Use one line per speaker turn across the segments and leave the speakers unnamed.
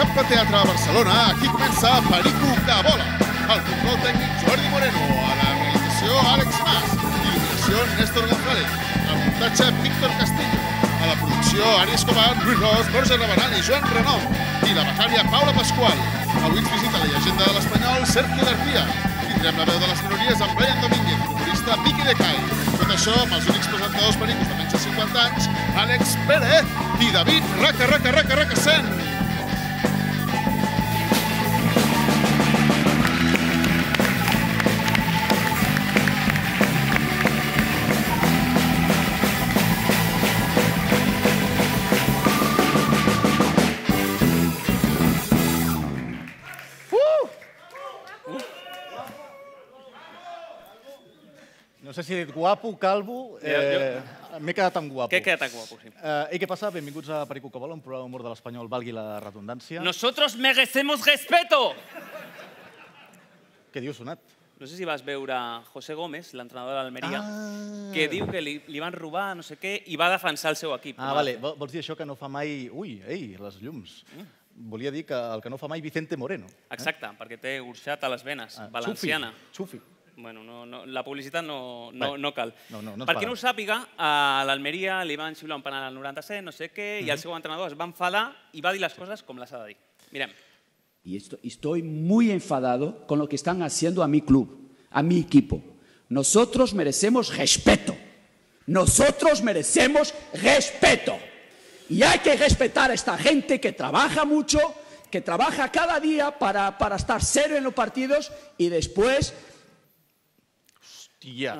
Copa Teatre a Barcelona, aquí comença Perico de Bola. El control tècnic Jordi Moreno, a la realització Àlex Mas, il·luminació Néstor González, el muntatge Víctor Castillo, a la producció Aris Comat, Lluís Ros, Borja Rabanal i Joan Renom, i la becària Paula Pasqual. Avui ens visita la llegenda de l'Espanyol, Sergio García. Tindrem la veu de les minories amb Brian Domínguez, humorista Vicky de Cai. Tot això amb els únics presentadors pericos de menys de 50 anys, Àlex Pérez i David Raca, Raca, Raca, Raca, 100.
No sé si he dit guapo, calvo... Eh,
Jo-
M'he quedat amb guapo.
Que he quedat guapo, sí.
Eh, I què passa? Benvinguts a Perico que vola, un programa d'humor de l'espanyol, valgui la redundància.
Nosotros merecemos respeto!
Què diu sonat?
No sé si vas veure José Gómez, l'entrenador de l'Almeria,
Ah.
que diu que li, li van robar no sé què i va defensar el seu equip.
Ah, vale. Vol- Vols dir això que no fa mai... Ui, ei, les llums.
Mm.
Volia dir que el que no fa mai Vicente Moreno.
Exacte, perquè té urxat a les venes,
Eh? Ah,
valenciana.
Xufi. Xufi.
Bueno, no, no, la publicitat no, no,
Vale.
no cal.
No, no, no ens
per qui
paguen.
no ho sàpiga, a l'Almeria li van xiular un penal al 97, no sé què, i el seu entrenador es va enfadar i va dir les coses com les ha de dir. Mirem.
Y esto- estoy muy enfadado con lo que están haciendo a mi club, a mi equipo. Nosotros merecemos respeto. Nosotros merecemos respeto. Y hay que respetar a esta gente que trabaja mucho, que trabaja cada día para, para estar serio en los partidos y después
Tia.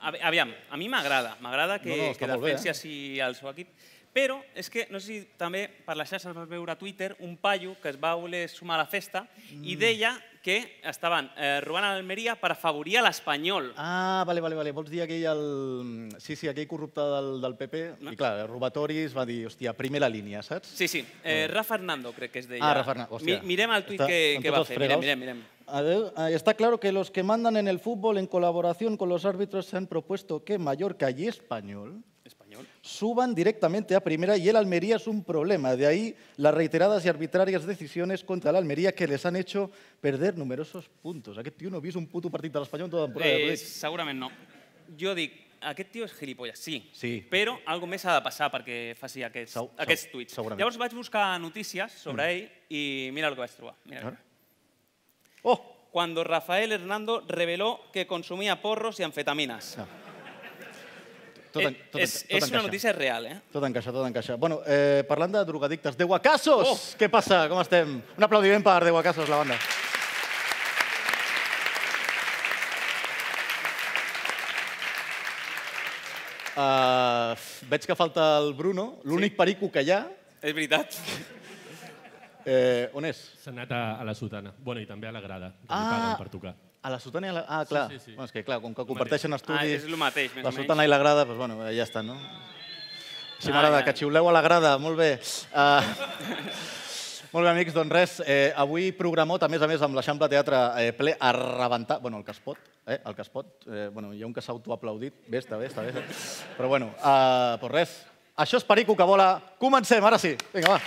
Ah. A- Aviam, a mi m'agrada, m'agrada que,
No, no,
no,
està
que
molt bé,
defensi
eh?
així el seu equip, però és que, no sé si també per les xarxes vas veure a Twitter un paio que es va voler sumar a la festa
Mm.
i deia que estaven eh, robant a l'Almeria per afavorir a l'Espanyol.
Ah, vale, vale, vale. Vols dir aquell... El... Sí, sí, aquell corrupte del, del PP.
No.
I clar, robatoris va dir, hòstia, primera línia, saps?
Sí, sí, eh, Rafa Hernando crec que es deia.
Ah, Rafa, Arna- hòstia.
Este, Mi, mirem el tuit
Està
que,
amb
que
tots
va
els
fer,
fregaus.
mirem, mirem, mirem.
A ver, ah, está claro que los que mandan en el fútbol en colaboración con los árbitros se han propuesto que Mallorca y Español
Espanyol.
suban directamente a primera y el Almería es un problema. De ahí las reiteradas y arbitrarias decisiones contra el Almería que les han hecho perder numerosos puntos. Aquest tio no ha vist un puto partit de l'Espanyol tota la temporada.
Eh,
Eh,
segurament no. Jo dic, aquest tio és gilipolles, sí,
Sí.
però algo més ha de passar perquè faci aquests,
Segu-
aquests
segu-
tuits.
segurament. Mm.
Llavors vaig buscar notícies sobre ell i mira el que vaig trobar. Mira.
Oh!
Cuando Rafael Hernando reveló que consumía porros y anfetaminas.
No, Ah, Tot, en, tot, en-
és,
tot
és una
encaixa.
notícia real, eh?
Tot encaixa, tot encaixa. Bueno, eh, parlant de drogadictes, Deu Acassos! Oh. Què passa? Com estem? Un aplaudiment per Deu Acassos, la banda. Uh, veig que falta el Bruno, l'únic sí. perico que hi ha.
És veritat.
Eh, on és?
S'ha anat a, a la sotana. Bueno, i també a la grada, que ah. li
Ah.
paguen per tocar.
A la sotana i a la... Ah, clar.
sí, sí.
Bueno, és que, clar, com que comparteixen
Ah,
estudis...
és el mateix, més
La
o menys.
sotana i la grada, doncs, bueno, ja està, no? Així
Ai,
m'agrada,
ai.
que xiuleu a la grada, molt bé. Uh, molt bé, amics, doncs res, eh, avui programot, a més a més, amb l'Eixample Teatre eh, ple a rebentar, bueno, el que es pot, eh, el que es pot, eh, bueno, hi ha un que s'ha autoaplaudit, bé, està bé, està bé, però bueno, eh, doncs res, això és Perico que vola, comencem, ara sí, vinga, va.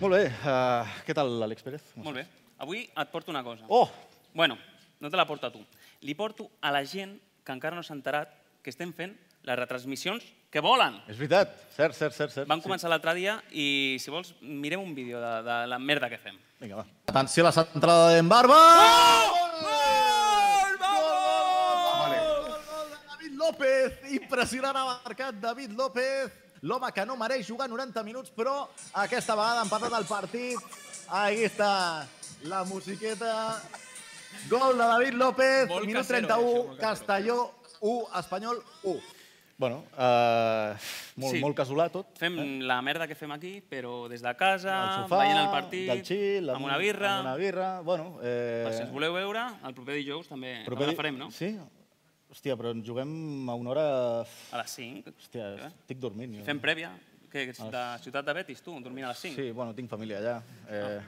Molt bé, uh, què tal, Àlex Pérez?
Molt bé. Avui et porto una cosa.
Oh,
Bueno, no te la porto a tu. Li porto a la gent que encara no s'ha enterat que estem fent les retransmissions que volen.
és veritat, cert, cert, cert, cert.
Van començar l'altre dia i, si vols, mirem un vídeo de, de la merda que fem.
Vinga, va. Oh! Atenció a la centrada d'en Barba! Gol! Gol! Gol de David López! Impressionant ha marcat David López. L'home que no mereix jugar 90 minuts, però aquesta vegada ha empatat el partit. Ahí està la musiqueta. Gol de David López,
Vol
minut
casero, eh,
31,
això, vol casero.
Castelló 1, Espanyol 1. Bueno, uh,
molt- Sí. molt
casolà tot.
Fem eh? la merda que fem aquí, però des de casa,
Al sofà,
veient el Ah, partit,
del xil,
amb, una birra.
Amb una birra, bueno... Eh,
Per si ens voleu veure, el proper dijous també, també
proper di-
la farem, no?
Sí. Hòstia, però ens juguem a una hora...
A les 5.
Hòstia,
Eh?
estic dormint. Jo.
Fem prèvia, que ets de Ciutat de Betis, tu, dormint a les 5. Ah.
Sí, bueno, tinc família allà. Eh,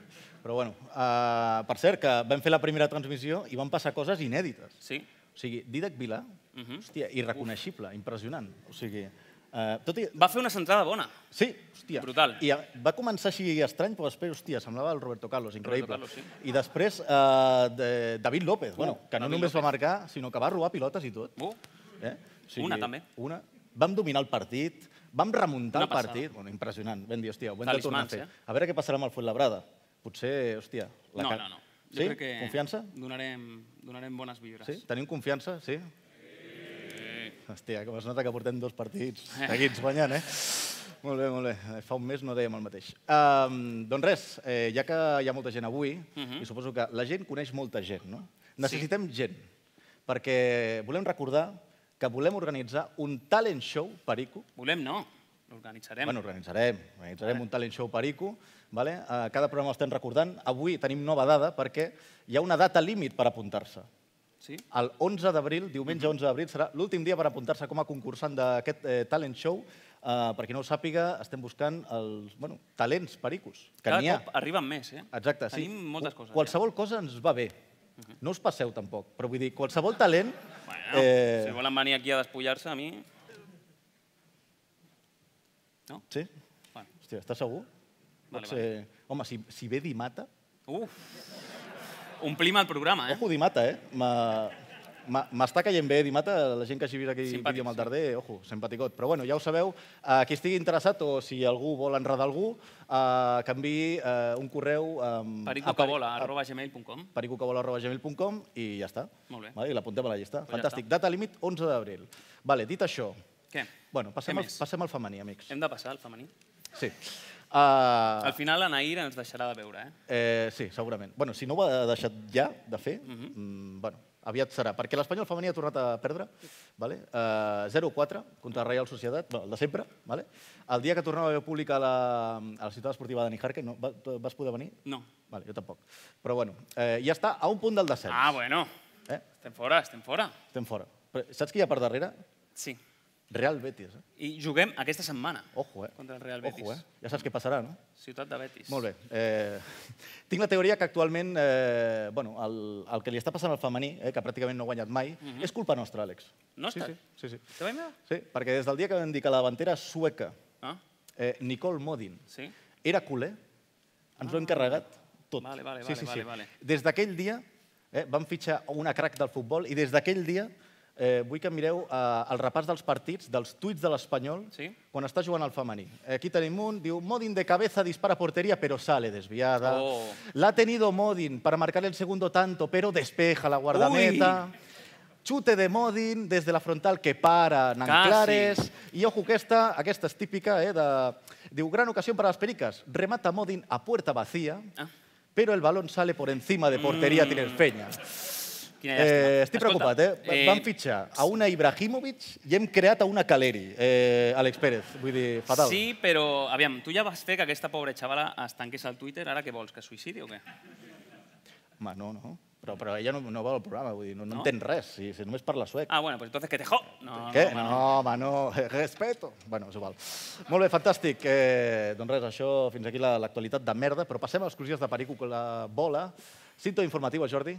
Però bueno, uh, per cert, que vam fer la primera transmissió i van passar coses inèdites.
Sí.
O sigui, Didac Vila, uh
Mhm.
-huh. hòstia, irreconeixible, Uf. impressionant. O sigui, uh, tot i...
Va fer una centrada bona.
Sí, hòstia.
Brutal.
I eh, va començar així estrany, però després, hòstia, semblava el Roberto Carlos, increïble.
Carlos, sí.
I després, uh, de David López, bueno, que no
David
només va marcar, sinó que va robar pilotes i tot.
Uh,
Eh?
Una, també.
Una. Vam dominar el partit, vam remuntar
Una
el
passada.
partit. Bueno, impressionant. Vam dir, hòstia, ho hem de
Talismans,
tornar a fer.
eh?
A veure què passarà amb el Fuenlabrada. Potser, hòstia... la
no,
ca-
no, no. Jo
Sí?
crec que
Confiança?
Donarem, donarem bones vibres.
Sí? Tenim confiança? Sí? Hòstia, com es nota que portem dos partits seguits guanyant, eh? Molt bé, molt bé. Fa un mes no dèiem el mateix. Um, doncs res, eh, ja que hi ha molta gent avui, i suposo que la gent coneix molta gent, no? Necessitem gent, perquè volem recordar que volem organitzar un talent show perico.
Volem no, l'organitzarem.
Bueno, organitzarem, organitzarem un talent show perico, vale? Eh, cada programa l'estem recordant. Avui tenim nova dada perquè hi ha una data límit per apuntar-se.
Sí?
El 11 d'abril, diumenge 11 d'abril, serà l'últim dia per apuntar-se com a concursant d'aquest eh, talent show. Uh, per qui no ho sàpiga, estem buscant els bueno, talents pericos, que n'hi
Cada
ha.
cop arriben més, eh?
Exacte, sí.
Tenim moltes coses. eh?
Qualsevol cosa ens va bé. No us passeu tampoc, però vull dir, qualsevol talent...
Ja. Bueno,
eh,
Si volen venir aquí a despullar-se, a mi...
Sí?
Bueno.
Hòstia, estàs segur?
Vale,
Potser- Home, si, si ve Di Mata...
Uf! Omplim el programa, eh?
Ojo, Di Mata, eh? Ma- ma- M'està caient bé, Di Mata, la gent que hagi vist aquí
Simpàtic,
vídeo amb el
sí.
Darder, ojo, simpaticot. Però bueno, ja ho sabeu, eh, qui estigui interessat o si algú vol enredar algú, eh, canviï eh, un correu... Eh,
Pericocabola, arroba gmail.com.
pericocabola.gmail.com i ja està.
Molt bé.
Vale, I l'apuntem a la llista.
Pues ja
Fantàstic. Data límit 11 d'abril. Vale, dit això,
Què?
bueno, passem,
Què
al,
més?
passem al femení, amics.
Hem de passar al femení.
Sí. Uh,
Al final la Nair ens deixarà de veure, eh?
Eh, sí, segurament. Bueno, si no ho ha deixat ja de fer,
Mhm.
mm, bueno, aviat serà. Perquè l'Espanyol femení ha tornat a perdre, vale? eh, 0-4 contra la Real Societat, bueno, el de sempre. Vale? El dia que tornava a haver pública a la, a la ciutat esportiva de Nijarque, no, va- vas poder venir?
No.
Vale, jo tampoc. Però bueno, eh, ja està a un punt del descens.
Ah, bueno.
Eh?
Estem fora, estem fora.
Estem fora. Però, saps qui hi ha per darrere?
Sí.
Real Betis. Eh?
I juguem aquesta setmana.
Ojo, eh?
Contra el Real Betis.
Ojo, eh? Ja saps què passarà, no?
Ciutat de Betis.
Molt bé. Eh, tinc la teoria que actualment eh, bueno, el, el que li està passant al femení, eh, que pràcticament no ha guanyat mai, és culpa nostra, Àlex.
Nostra?
Sí, sí. sí, sí.
També meva?
sí perquè des del dia que vam dir que la davantera sueca,
Ah,
eh, Nicole Modin,
sí.
era culer, ens ho hem carregat tot.
Ah. Vale, vale,
sí,
vale,
sí, sí.
vale, vale.
Des d'aquell dia eh, vam fitxar una crac del futbol i des d'aquell dia eh, vull que mireu eh, el repàs dels partits, dels tuits de l'Espanyol,
Sí.
quan està jugant al femení. Aquí tenim un, diu, Modin de cabeza dispara portería, pero sale desviada.
Oh.
La ha tenido Modin para marcar el segundo tanto, pero despeja la guardameta. Chute de Modin des de la frontal que para Nanclares. I ojo, aquesta, aquesta és típica, eh, de... Diu, gran ocasió per a les periques. Remata Modin a puerta vacía,
Ah. Mm.
però el balón sale por encima de portería Tinerfeña.
Quina llàstima.
Eh, estic preocupat, eh? Va- Vam fitxar a una Ibrahimovic i hem creat a una Caleri, eh, Àlex Pérez. Vull dir, fatal.
Sí, però, aviam, tu ja vas fer que aquesta pobra xavala es tanqués al Twitter, ara què vols, que es suïcidi o què?
Home, no, no. Però, però ella no, no va al programa, vull dir, no, no,
No?
entén res, si, si només parla suec.
Ah, bueno, pues entonces que te jo. No,
Què?
home,
Ah, No, home, no, respeto. Bueno, és igual. Molt bé, fantàstic. Eh, doncs res, això, fins aquí la- l'actualitat de merda, però passem a les crugies de Perico con la bola. Cinto informativa, Jordi.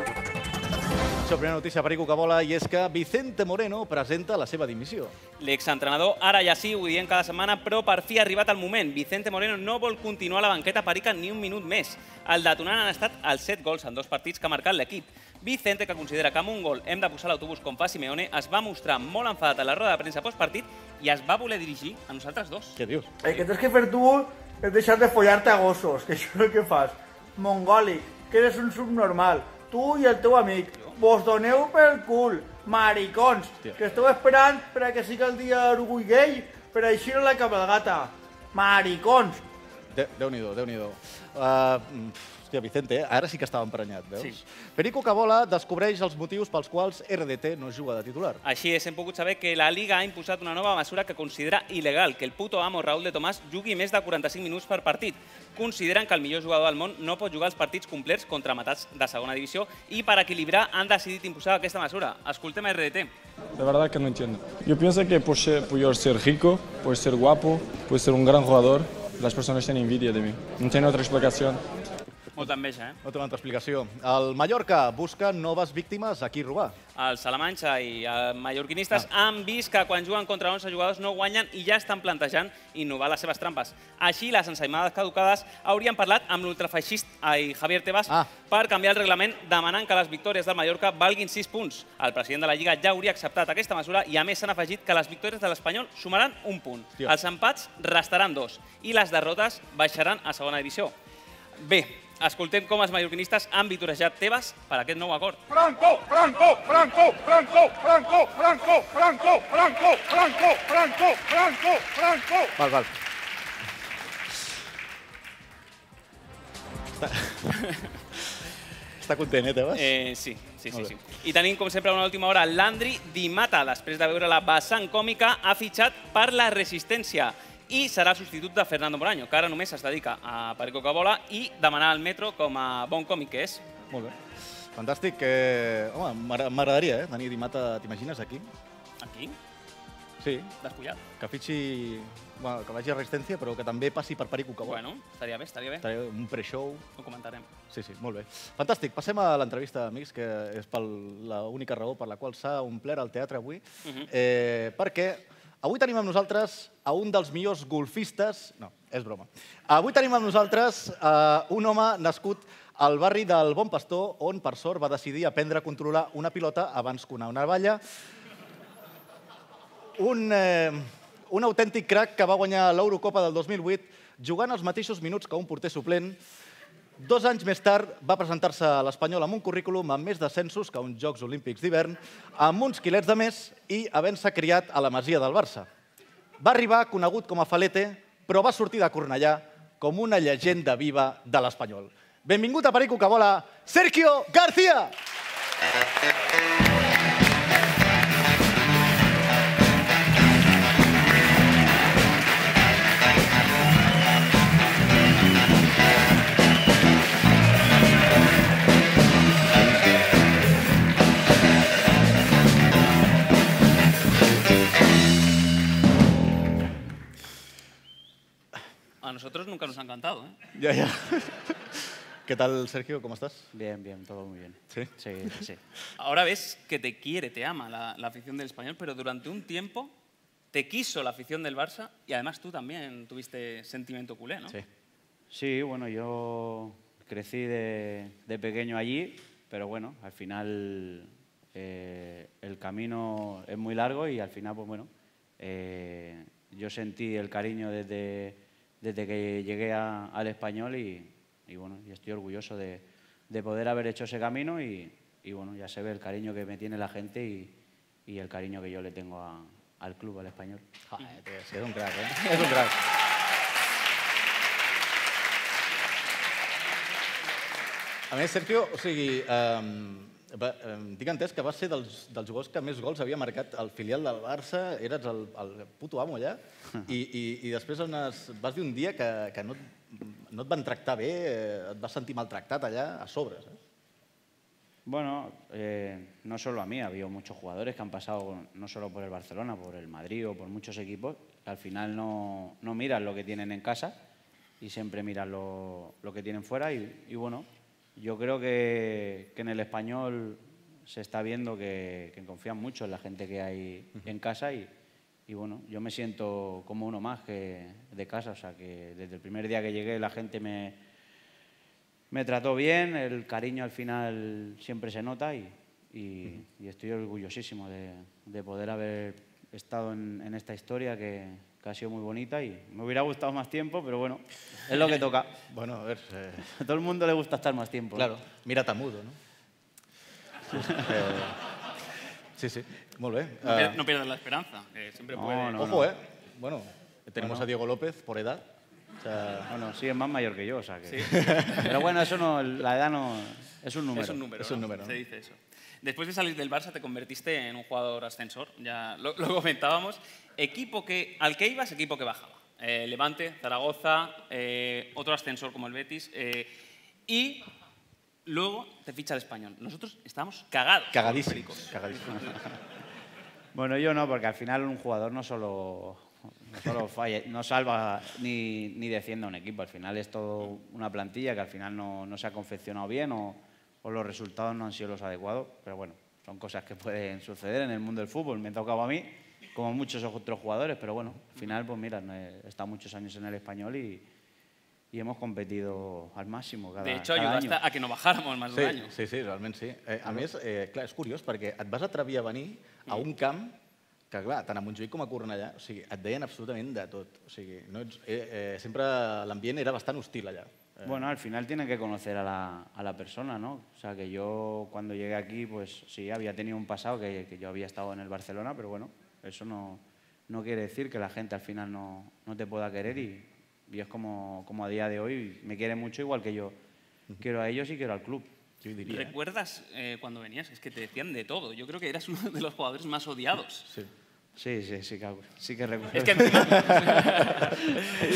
Això, primera notícia, Perico que vola, i és que Vicente Moreno presenta la seva dimissió.
L'exentrenador, ara ja sí, ho diem cada setmana, però per fi ha arribat el moment. Vicente Moreno no vol continuar a la banqueta perica ni un minut més. El detonant han estat els 7 gols en dos partits que ha marcat l'equip. Vicente, que considera que amb un gol hem de posar l'autobús com fa Simeone, es va mostrar molt enfadat a la roda de premsa postpartit i es va voler dirigir a nosaltres dos.
Què dius?
El que tens que fer tu és deixar de follar-te a gossos, que això és el que fas. Mongòlic, que eres un subnormal. Tu i el teu amic, vos doneu pel cul, maricons, que esteu esperant per a que sigui el dia d'orgull gai per a eixir a la cabalgata. Maricons.
Dé- Déu-n'hi-do, déu nhi déu uh, Hòstia, Vicente, eh? ara sí que estava emprenyat, veus?
Sí.
Perico Cabola descobreix els motius pels quals RDT no juga de titular.
Així és, hem pogut saber que la Liga ha impulsat una nova mesura que considera il·legal que el puto amo Raúl de Tomàs jugui més de 45 minuts per partit. Consideren que el millor jugador del món no pot jugar els partits complets contra matats de segona divisió i per equilibrar han decidit impulsar aquesta mesura. Escoltem a RDT.
De verdad que no entiendo. Yo pienso que por ser, por yo ser rico, por ser guapo, por ser un gran jugador, las personas tienen envidia de mí. No tiene otra explicación.
Molta enveja, eh?
No té una altra explicació. El Mallorca busca noves víctimes a qui robar.
Els Salamanca i els mallorquinistes han vist que quan juguen contra 11 jugadors no guanyen i ja estan plantejant innovar les seves trampes. Així, les ensaïmades caducades haurien parlat amb l'ultrafeixist ai, Javier Tebas
Ah.
per canviar el reglament demanant que les victòries del Mallorca valguin 6 punts. El president de la Lliga ja hauria acceptat aquesta mesura i a més s'han afegit que les victòries de l'Espanyol sumaran un punt,
Hòstia.
els empats restaran dos i les derrotes baixaran a segona divisió. Bé, escoltem com els mallorquinistes han vitorejat Tebas per aquest nou acord.
Val, val. Està, Està content, eh, Tebas?
Eh, sí, sí, sí,
Molt
sí.
bé.
I tenim, com sempre, una última hora. Landry Di Mata, després de veure la vessant còmica, ha fitxat per la resistència i serà substitut de Fernando Moraño, que ara només es dedica a Perico Cabola i demanar al metro com a bon còmic que és.
Molt bé. Fantàstic. Eh, home, m'agra- m'agradaria, eh, Dani Di Mata, t'imagines aquí?
Aquí,
Sí,
despullat.
que fitxi... Bueno, que vagi a Resistència, però que també passi per Perico Cabó.
Bueno, estaria bé, estaria bé.
Traia un pre-show.
Ho comentarem.
Sí, sí, molt bé. Fantàstic. Passem a l'entrevista, amics, que és pel- la única raó per la qual s'ha omplert el teatre avui. eh, perquè avui tenim amb nosaltres a un dels millors golfistes... No, és broma. Avui tenim amb nosaltres eh, un home nascut al barri del Bon Pastor, on, per sort, va decidir aprendre a controlar una pilota abans que una navalla. Un, eh, un autèntic crack que va guanyar l'Eurocopa del 2008 jugant els mateixos minuts que un porter suplent, Dos anys més tard va presentar-se a l'Espanyol amb un currículum amb més descensos que uns Jocs Olímpics d'hivern, amb uns quilets de més i havent-se criat a la Masia del Barça. Va arribar conegut com a Falete, però va sortir de Cornellà com una llegenda viva de l'Espanyol. Benvingut a Perico Cabola, Sergio García!
A nosotros nunca nos ha encantado, ¿eh?
Ja, ja. Què tal, Sergio? Com estàs?
Bien, bien, todo muy bien.
Sí?
Sí, sí.
Ahora ves que te quiere, te ama la, la afición del español, pero durante un tiempo te quiso la afición del Barça y además tú también tuviste sentimiento culé, ¿no?
Sí, bueno, yo crecí de, de pequeño allí, pero bueno, al final eh, el camino es muy largo y al final, pues bueno, eh, yo sentí el cariño desde, desde que llegué a- al español y, y bueno, y estoy orgulloso de, de poder haber hecho ese camino y, y bueno, ya se ve el cariño que me tiene la gente y, y el cariño que yo le tengo a- al club, al español.
Joder, tio, sí, és un crac, eh? És un crac. A més, Sergio, o sigui, eh, va, eh, tinc entès que vas ser dels, dels jugadors que més gols havia marcat el filial del Barça, eres el, el puto amo allà, i, i, i després unes, vas dir un dia que, que no, et- no et van tractar bé, eh, et vas sentir maltractat allà a sobre. Eh?
Bueno, eh, no solo a mí, ha habido muchos jugadores que han pasado no solo por el Barcelona, por el Madrid o por muchos equipos, que al final no, no miran lo que tienen en casa y siempre miran lo, lo que tienen fuera. Y, y bueno, yo creo que, que en el español se está viendo que, que confían mucho en la gente que hay en casa y, y bueno, yo me siento como uno más que de casa, o sea que desde el primer día que llegué la gente me, me trató bien, el cariño al final siempre se nota y, y- y estoy orgullosísimo de, de poder haber estado en, en esta historia que, que ha sido muy bonita y me hubiera gustado más tiempo, pero bueno, es lo que toca.
Bueno, a veure... Eh...
A todo el mundo le gusta estar más tiempo. ¿no?
Claro, mira tamudo, no? Eh, sí, sí, molt bé.
No,
Eh,
pier- no pierdas la esperanza, que siempre
No,
puede.
no.
Ojo, eh. Bueno, tenemos
Bueno.
a Diego López por edad. O sea,
Bueno, sí, es más mayor que yo, o sea que... Pero bueno, eso no, la edad no... Es un número.
Es un número.
Es un
¿no?
número,
Se
¿no?
dice eso. Después de salir del Barça te convertiste en un jugador ascensor, ya lo, lo comentábamos. Equipo que, al que ibas, equipo que bajaba. Eh, Levante, Zaragoza, eh, otro ascensor como el Betis. eh, y luego te ficha el español. Nosotros estábamos cagados.
cagadísimo.
pericos.
cagadísimo.
Bueno, yo no, porque al final un jugador no solo, no solo falla, no salva ni, ni defiende a un equipo. Al final es todo una plantilla que al final no, no se ha confeccionado bien o, o los resultados no han sido los adecuados. Pero bueno, son cosas que pueden suceder en el mundo del fútbol. Me ha tocado a mí, como muchos otros jugadores, pero bueno, al final, pues mira, no he he estado muchos años en el español y, y hemos competido al máximo cada,
De hecho,
cada
ayudaste
año.
a que no bajáramos más de un
Sí,
año.
sí, sí, realment sí. Eh, a més, eh, clar, és curiós perquè et vas atrevir a venir a un camp que, clar, tant a Montjuïc com a Cornellà, o sigui, et deien absolutament de tot. O sigui, no ets, eh, eh, sempre l'ambient era bastant hostil allà. Eh,
Bueno, al final tienen que conocer a la, a la persona, ¿no? O sea, que yo cuando llegué aquí, pues sí, había tenido un pasado que, que yo había estado en el Barcelona, pero bueno, eso no, no quiere decir que la gente al final no, no te pueda querer y, y es como, como a día de hoy, me quiere mucho igual que yo quiero a ellos y quiero al club.
jo hi diria. eh?
¿Recuerdas eh, cuando venías? Es que te decían de todo. Yo creo que eras uno de los jugadores más odiados.
Sí.
Sí, sí, sí que, sí que recuerdo.
Es que encima,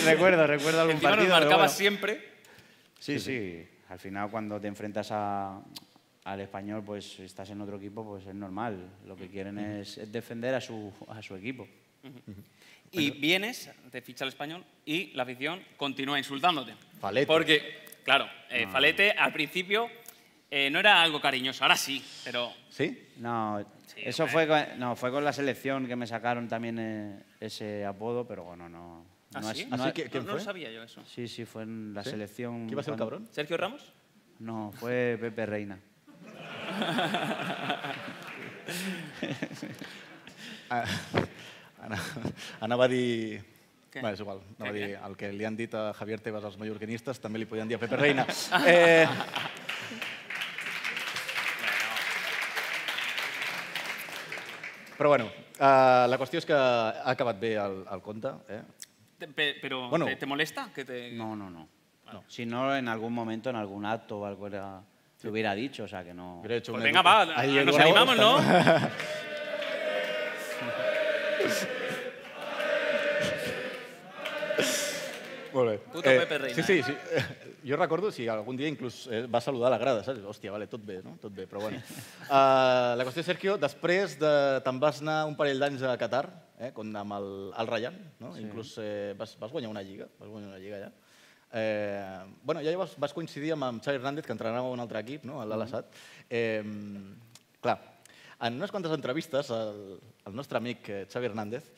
recuerdo, recuerdo algún
encima nos
partido. pero
marcabas
bueno.
siempre.
Sí, sí. Al final, cuando te enfrentas a- al español, pues estás en otro equipo, pues es normal. Lo que quieren es, es defender a su, a su equipo.
Y vienes, te ficha el español y la afición continúa insultándote.
Falete. Ah.
Porque, claro, eh, Falete al principio eh, no era algo cariñoso, ahora sí, pero
Sí?
No,
Sí,
eso
hombre.
fue con, no, fue con la selección que me sacaron también eh, ese apodo, pero bueno, no.
¿Ah,
no
sí?
es- no
Así
es-
que-
no,
¿quién
no
fue?
lo sabía yo eso.
sí, sí, fue en la
sí?
selección.
Qui va ser el
cuando-
cabrón?
¿Sergio Ramos?
No, fue Pepe Reina.
Ah, Ana, anava a dir...
Què?
Bé, és igual,
Què,
anava a dir
què?
el que li han dit a Javier Tebas als mallorquinistes, també li podien dir a Pepe Reina. Eh, però bueno, eh, la qüestió és que ha acabat bé el, el conte. Eh?
Te- pe- ¿Pero
Bueno.
¿te, te molesta? que te...
No, no, no. Si no, en algún momento, en algún acto o algo, era- lo hubiera dicho, o sea que no.
Hubiera hecho
Pues
un
venga,
edu-
va,
Ahí
nos
Eduardo
animamos,
está-
¿no?
Molt bé. Eh,
Puto Pepe Reina,
Sí, sí, sí. Jo recordo si algun dia inclús eh, va saludar a la grada, saps? Hòstia, vale, tot bé, no? Tot bé, però bueno. Uh, la qüestió, Sergio, després de... te'n vas anar un parell d'anys a Qatar, eh, com amb el, el Rayan, no? Sí. Inclús eh, vas, vas guanyar una lliga, vas guanyar una lliga allà. Eh, bueno, ja vas, vas coincidir amb, amb Xavi Hernández, que entrenava a un altre equip, no? a l'Alassat. Eh, clar, en unes quantes entrevistes, el, el nostre amic eh, Xavi Hernández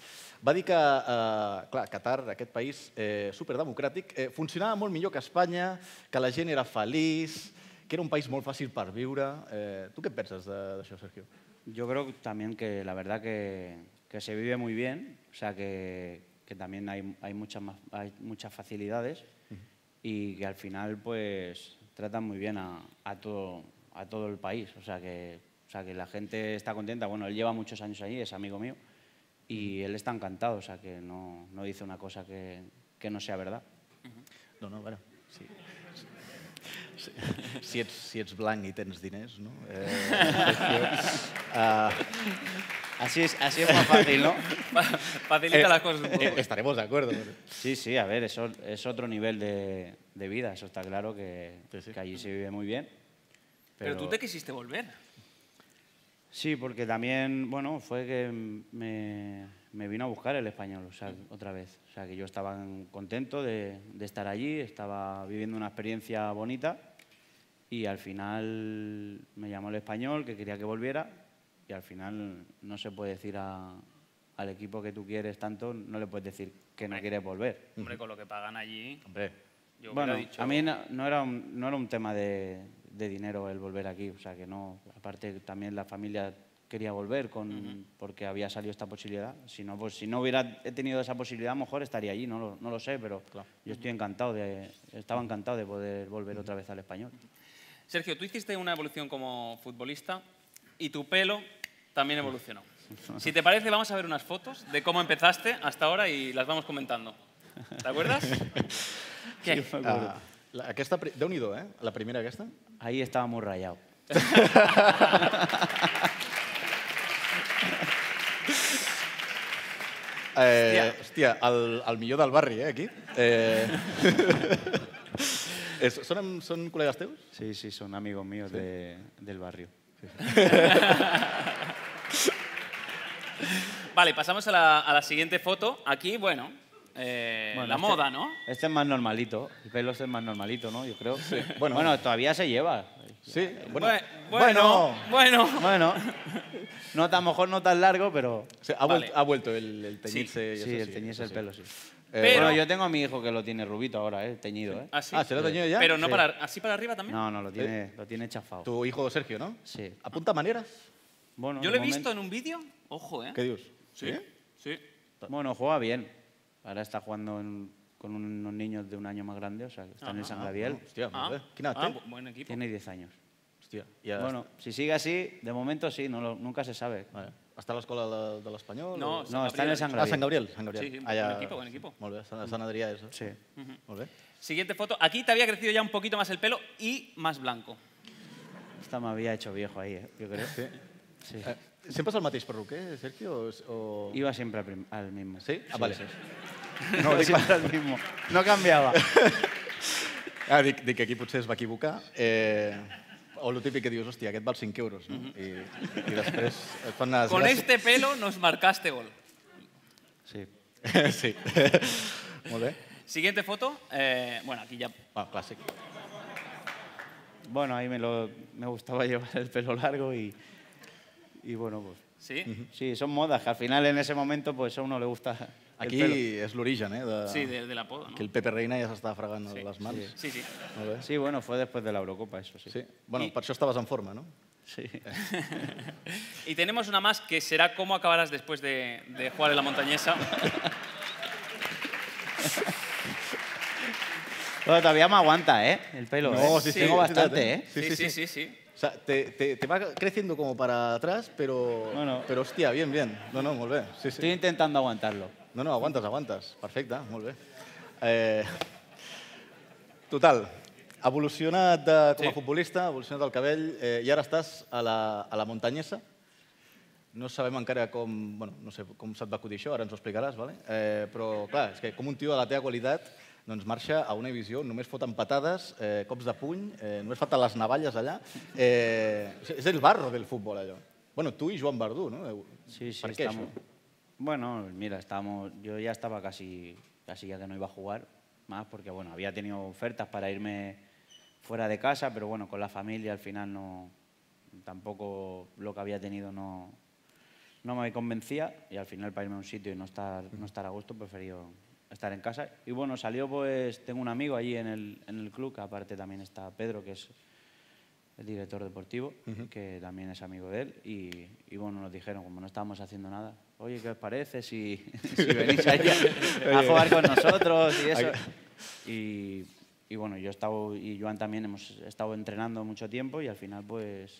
va dir que, eh, clar, Qatar, aquest país eh, superdemocràtic, eh, funcionava molt millor que Espanya, que la gent era feliç, que era un país molt fàcil per viure. Eh, tu què et penses de- d'això, Sergio?
Yo creo también que la verdad que, que se vive muy bien, o sea que, que también hay, hay, muchas más, hay muchas facilidades y que al final pues tratan muy bien a, a todo, a todo el país, o sea, que, o sea que la gente está contenta. Bueno, él lleva muchos años allí, es amigo mío y él está encantado, o sea que no, no dice una cosa que, que no sea verdad.
No, no, bueno, sí. Si, si, ets, si ets blanc i tens diners, no? Eh, Sergio, eh,
Así es, así es más fácil, ¿no?
Facilita las cosas un poco.
eh, estaremos de acuerdo. Bueno.
Sí, sí, a ver, eso es otro nivel de, de vida, eso está claro que,
Sí, sí.
que allí se vive muy bien.
pero... tú te quisiste volver.
Sí, porque también, bueno, fue que me, me vino a buscar el español, o sea, otra vez. O sea, que yo estaba en- contento de, de estar allí, estaba viviendo una experiencia bonita y al final me llamó el español que quería que volviera y al final no se puede decir a- al equipo que tú quieres tanto, no le puedes decir que no quieres volver.
Hombre, con lo que pagan allí,
Hombre,
yo
Bueno,
hubiera dicho...
a mí no, no era un, no era un tema de, de dinero el volver aquí, o sea que no. Aparte también la familia quería volver con, porque había salido esta posibilidad. Si no, pues, si no hubiera he tenido esa posibilidad, a lo mejor estaría allí, no lo, no lo sé, pero yo estoy encantado de, estaba encantado de poder volver otra vez al español.
Sergio, tú hiciste una evolución como futbolista y tu pelo también evolucionó. Si te parece, vamos a ver unas fotos de cómo empezaste hasta ahora y las vamos comentando. ¿Te acuerdas? ¿Qué?
Ah, la, aquesta, pri- Déu-n'hi-do, eh? La primera aquesta.
Ahí estaba muy rayado.
Eh, hòstia, el, el millor del barri, eh, aquí. Eh... Eh, són, amb- són col·legues teus?
Sí, sí, son amigos míos de- del barrio.
Vale, pasamos a la, a la siguiente foto. Aquí, bueno, eh,
Bueno,
la
este-
moda, ¿no?
Este es más normalito. El pelo este es más normalito, ¿no? Yo creo.
Bueno.
Bueno, todavía se lleva.
Sí? Bueno,
Bue- bueno, bueno.
Bueno, no tan mejor, no tan largo, pero
O sea, ha,
Vale.
vuelto, ha vuelto el, el teñirse.
sí,
i això
el teñirse
això
el pelo, sí.
Eh,
Pero-
Bueno, yo tengo a mi hijo que lo tiene rubito ahora, eh, teñido, ¿eh?
Así.
Ah, ¿se lo ha teñido ya?
Pero no
Sí.
para, así para arriba también.
No, no, lo tiene, lo tiene chafado.
Tu hijo Sergio, no?
Sí.
Apunta maneras.
Bueno,
Yo lo
de
he visto
momento-
en un vídeo. Ojo, ¿eh?
Què dius?
Sí. Sí.
Bueno, juega bien. Ahora está jugando en- con unos niños de un año más grande, o sea, que está en el Sangradiel.
Hòstia,
Ah,
molt bé. Quina
ah,
edat té?
bu- buen equipo.
Tiene 10 años.
Hòstia, ja...
bueno, si sigue así, de momento sí, no lo- nunca se sabe.
Vale. Està a l'escola de, de l'Espanyol?
No,
o-
Sant
No, está en el
Gabriel.
Ah, Sant
Sangradiel.
Gabriel. Sant Gabriel.
Sí, sí, bon equipo, bon equipo.
Molt bé, Sant, Sant Adrià és. eh?
Sí.
Molt bé.
Siguiente foto. Aquí te había crecido ya un poquito más el pelo y más blanco.
Esta me había hecho viejo ahí, eh, yo creo.
Sí.
Sí.
Eh, sempre és el mateix perruquer, Sergio? O... o...
Iba siempre al, prim- al mismo.
Sí? Ah, vale.
No, siempre al mismo. No cambiaba.
Ah, dic, dic que aquí potser es va equivocar. Eh, o el típic que dius, hòstia, aquest val 5 euros, no? I, I després et fan les
Con
gràcies.
este pelo nos marcaste gol.
Sí.
sí. Molt bé.
Siguiente foto. eh, bueno, aquí ya.
Bueno, clàssic.
Bueno, ahí me, lo, me gustaba llevar el pelo largo y, y bueno, pues
Sí.
sí, son modas que al final en ese momento pues a uno le gusta el
Aquí
pelo.
és l'origen, eh? De...
Sí, de- del apodo, ¿no?
Que el Pepe Reina ja s'està fregant les mans. Sí.
Sí, sí.
Molt bé.
Sí, bueno, fue después de la Eurocopa, eso sí.
Sí. Bueno, per això estaves en forma, no?
Sí.
Y tenemos una más que será cómo acabarás después de, de jugar en la montañesa.
Bueno, todavía me aguanta, ¿eh? El pelo.
No,
¿eh?
sí, sí,
Tengo
sí,
bastante,
sí,
¿eh?
Sí, sí, sí.
sí, sí.
O sea, te, te, te va creciendo como para atrás, pero,
Bueno.
pero hostia, bien, bien. No, no, molt bé. Sí, sí.
Estoy intentando aguantarlo.
No, no, aguantes, aguantes. Perfecte, molt bé. Eh, total, evolucionat de, com a
Sí.
futbolista, evolucionat el cabell, eh, i ara estàs a la, a la muntanyesa. No sabem encara com, bueno, no sé com se't va acudir això, ara ens ho explicaràs, vale? eh, però clar, és que com un tio de la teva qualitat doncs marxa a una divisió on només foten patades, eh, cops de puny, eh, només falten les navalles allà. Eh, és el barro del futbol, allò. Bueno, tu i Joan Verdú, no?
Sí, sí,
per què
estamos-
això?
Bueno, mira, estamos, yo ya estaba casi, casi ya que no iba a jugar más, porque bueno, había tenido ofertas para irme fuera de casa, pero bueno, con la familia al final no, tampoco lo que había tenido no, no me convencía y al final para irme a un sitio y no estar, no estar a gusto, preferido estar en casa. Y bueno, salió pues, tengo un amigo allí en el, en el club, que aparte también está Pedro, que es el director deportivo, que también es amigo de él, y, y bueno, nos dijeron, como no estábamos haciendo nada, oye, ¿qué os parece si, si venís ahí a, a jugar con nosotros y eso? Y, y bueno, yo he estado, y Joan también hemos estado entrenando mucho tiempo y al final pues,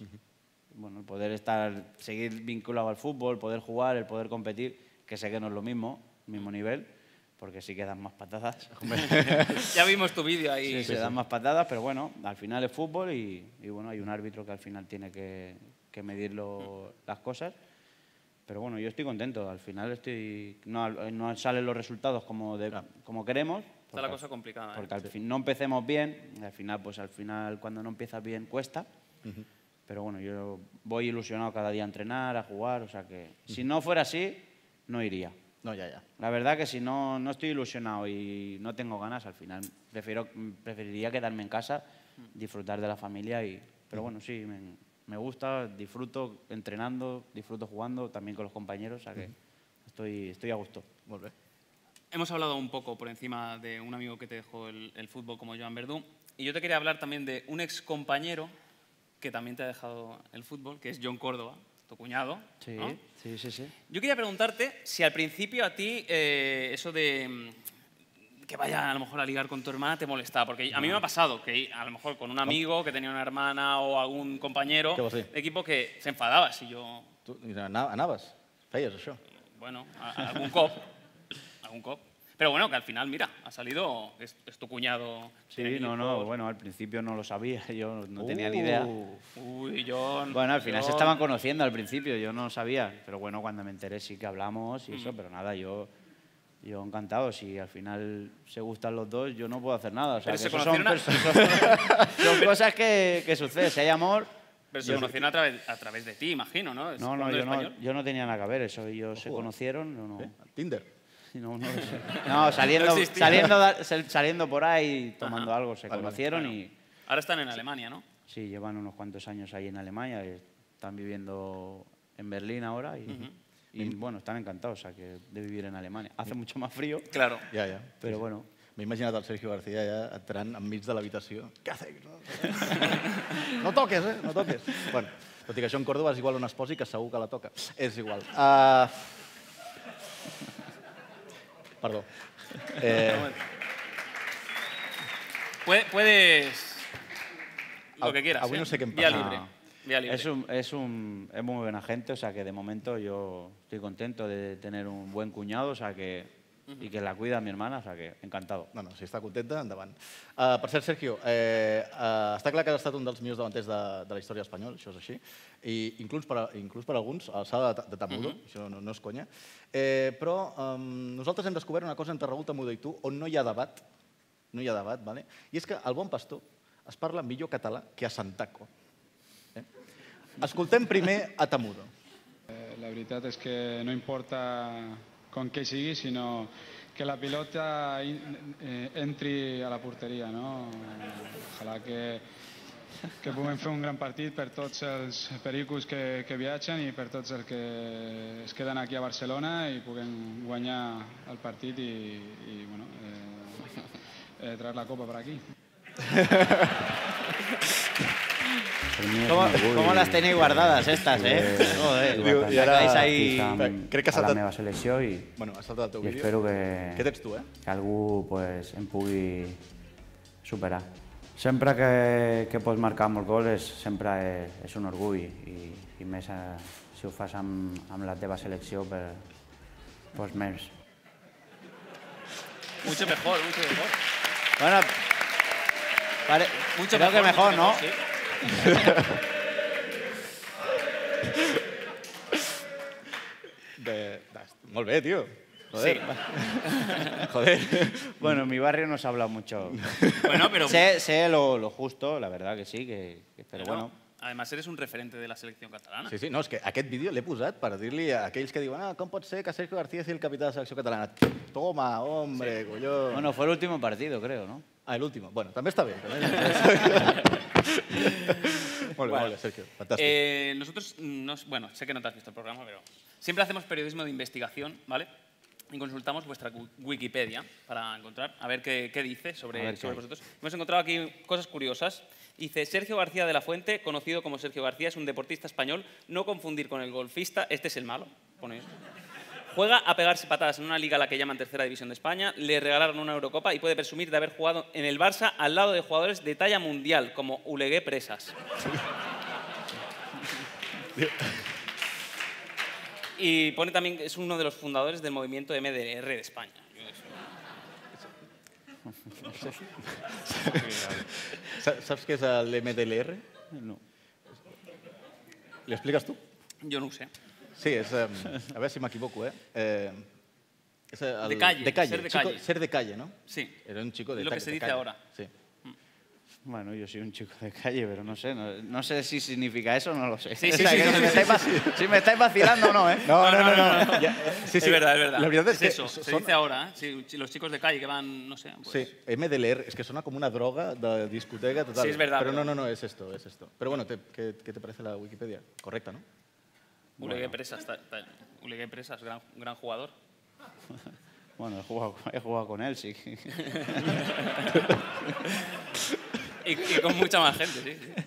bueno, el poder estar, seguir vinculado al fútbol, poder jugar, el poder competir, que sé que no es lo mismo, mismo nivel, porque sí que dan más patadas.
Ya vimos tu vídeo ahí.
Sí, se dan más patadas, pero bueno, al final es fútbol y, y bueno, hay un árbitro que al final tiene que, que medir lo- las cosas. Pero bueno, yo estoy contento. Al final estoy no, al- no salen los resultados como, de, como queremos.
Está la
porque-
cosa complicada. ¿eh?
Porque al fin no empecemos bien. y al final, pues al final cuando no empiezas bien cuesta. Pero bueno, yo voy ilusionado cada día a entrenar, a jugar. O sea que si no fuera así, no iría.
No, ja, ja.
La verdad que si no, no estoy ilusionado y no tengo ganas, al final prefiero, preferiría quedarme en casa, disfrutar de la familia. Y, pero bueno, sí, me, me gusta, disfruto entrenando, disfruto jugando, también con los compañeros, o sea que estoy, estoy a gusto.
Molt bé.
Hemos hablado un poco por encima de un amigo que te dejó el, el fútbol como Joan Verdú. Y yo te quería hablar también de un ex compañero que también te ha dejado el fútbol, que es John Córdoba, tu cuñado.
Sí,
¿no?
sí, sí, sí.
Yo quería preguntarte si al principio a ti eh, eso de mm, que vaya a lo mejor a ligar con tu hermana te molestaba, porque a mí me ha pasado que a lo mejor con un amigo que tenía una hermana o algún compañero
¿Qué vos sí?
de equipo que se enfadaba si yo,
Tu ana- anaves? Feies això?
bueno, a- a algún cop, algún cop. Pero bueno, que al final, mira, ha salido, es, es tu cuñado.
Sí, no, no, bueno, al principio no lo sabía, yo no tenía ni idea.
Uy, John.
Bueno, al final se
John.
estaban conociendo al principio, yo no sabía, pero bueno, cuando me enteré sí que hablamos y eso,
Mm.
pero nada, yo, yo encantado, si al final se gustan los dos, yo no puedo hacer nada. O sea,
Pero
que
se
eso son,
conocieron
perso- son- son cosas que, que suceden, si hay amor...
Pero se
yo-
conocieron a través, a través de ti, imagino, ¿no? Es
No, no,
hablando
yo no,
español. ¿eh?
yo no tenía nada que ver, eso ellos se conocieron, yo no...
Tinder.
No, no, no, saliendo,
No existía.
saliendo, da- sal- saliendo por ahí, tomando algo, se conocieron y
Ahora están en Alemania, ¿no?
sí, llevan unos cuantos años ahí en Alemania, eh, están viviendo en Berlín ahora y, y, bueno, están encantados o sea, que de vivir en Alemania. Hace mucho más frío,
Claro.
Ja, ja.
pero bueno,
M'he imaginat el Sergio García ja entrant enmig de l'habitació. Què haces? No? no toques, eh? No toques. Bueno, tot i que això en Córdoba és igual on es posi, que segur que la toca. És igual. Uh... Perdó. Eh,
Puede- Puedes. Lo
Au-
que quieras.
avui
¿eh?
no sé qué
Vía
empezar.
libre.
No.
Vía libre.
es, un, es, un, es muy buena gente, o sea que de momento yo estoy contento de tener un buen cuñado, o sea que... Y que la cuida mi hermana, o sea que encantado.
no, no, si està contenta, endavant. Uh, per cert, Sergio, eh, uh, està clar que has estat un dels millors davanters de, de la història espanyola, això és així, i inclús per, a- inclús per a alguns, a l'alçada de, Ta- de Tamudo, això no, no és conya, eh, però um, nosaltres hem descobert una cosa entre Raül Tamudo i tu, on no hi ha debat, no hi ha debat, vale? i és que el bon pastor es parla millor català que a Santaco. Eh? Escoltem primer a Tamudo.
Eh, La veritat és que no importa con què sigui, sinó que la pilota in- eh, entri a la porteria, no? Ojalà que, que puguem fer un gran partit per tots els pericos que, que viatgen i per tots els que es queden aquí a Barcelona i puguem guanyar el partit i, i bueno, eh, eh, traer la copa per aquí.
¿Cómo, cómo las tenéis guardadas estas, eh? Joder,
Diu, i ara-
sacáis ahí...
Crec que s'ha
a la
de-
meva selecció i,
Bueno, ha saltat el teu
i
vídeo.
espero que,
Què tens tu, eh?
que algú pues, em pugui superar. Sempre que, que pots marcar molts gols sempre e, és, és un orgull i, i més eh, si ho fas amb, amb la teva selecció per, pues més.
Mucho mejor, mucho mejor.
Bueno, pare,
Mucho
creo
mejor,
que mejor,
mucho
¿no?
sí.
De... de- Molt bé, tio. Joder.
Joder. Bueno, en mi barrio no se habla mucho.
Bueno, pero.
Sé, sé lo, lo justo, la verdad que sí, que, que- pero
Bueno,
bueno.
Además, eres un referente de la selección catalana.
Sí, sí, no, és que aquest vídeo l'he posat per dir-li a aquells que diuen ah, com pot ser que Sergio García sigui el capità de la selecció catalana? Toma, hombre, sí. colló... Bueno,
Bueno, fue el último partido, creo, ¿no?
ah, l'últim. Bueno, també està bé. També està bé. molt bé, molt bé, Sergio. Fantàstic. Eh...
Eh, nosotros, no, bueno, sé que no te has visto el programa, pero siempre hacemos periodismo de investigación, ¿vale? Y consultamos vuestra gu- Wikipedia para encontrar, a ver qué, qué dice sobre,
A ver qué
sobre
hay.
vosotros. Hemos encontrado aquí cosas curiosas. Dice, Sergio García de la Fuente, conocido como Sergio García, es un deportista español, no confundir con el golfista, este es el malo, pone eso. Juega a pegarse patadas en una liga a la que llaman Tercera División de España, le regalaron una Eurocopa y puede presumir de haber jugado en el Barça al lado de jugadores de talla mundial, como Ulegué Presas. Y pone también que es uno de los fundadores del movimiento MDR de España.
Saps què és l'MDLR?
No.
Li expliques tu?
Yo no sé.
Sí, és... Um, a veure si m'equivoco, eh? eh és el,
De calle,
de calle.
ser de
chico-
calle.
Ser de calle, no?
Sí.
Era un chico de
Lo que
ta-
se
de
dice
calle.
ahora.
Sí.
Bueno, yo soy un chico de calle, pero no sé, no, no sé si significa eso, no lo sé.
Sí,
O
sí,
sea,
sí,
que
sí,
si,
sí,
me
sí,
estáis va- si me estáis vacilando o no, ¿eh?
No, no, no. no,
no,
Ja, sí, sí.
Es verdad, es verdad.
La veritat és, que
eso, se
són-
dice ahora, ¿eh? Sí, chi- los chicos de calle que van, no sé. pues-
Sí, MDLR, es que suena como una droga de discoteca total.
Sí, es verdad,
Pero no,
pero-
no, no, es esto, es esto. Pero bueno, te- ¿qué, qué te parece la Wikipedia? Correcta, ¿no?
Ulegué Presas, ta- ta- Ulegué Presas, gran, gran jugador.
Bueno, he jugado, he jugado con él, sí.
Y, y con mucha más gente, sí, sí.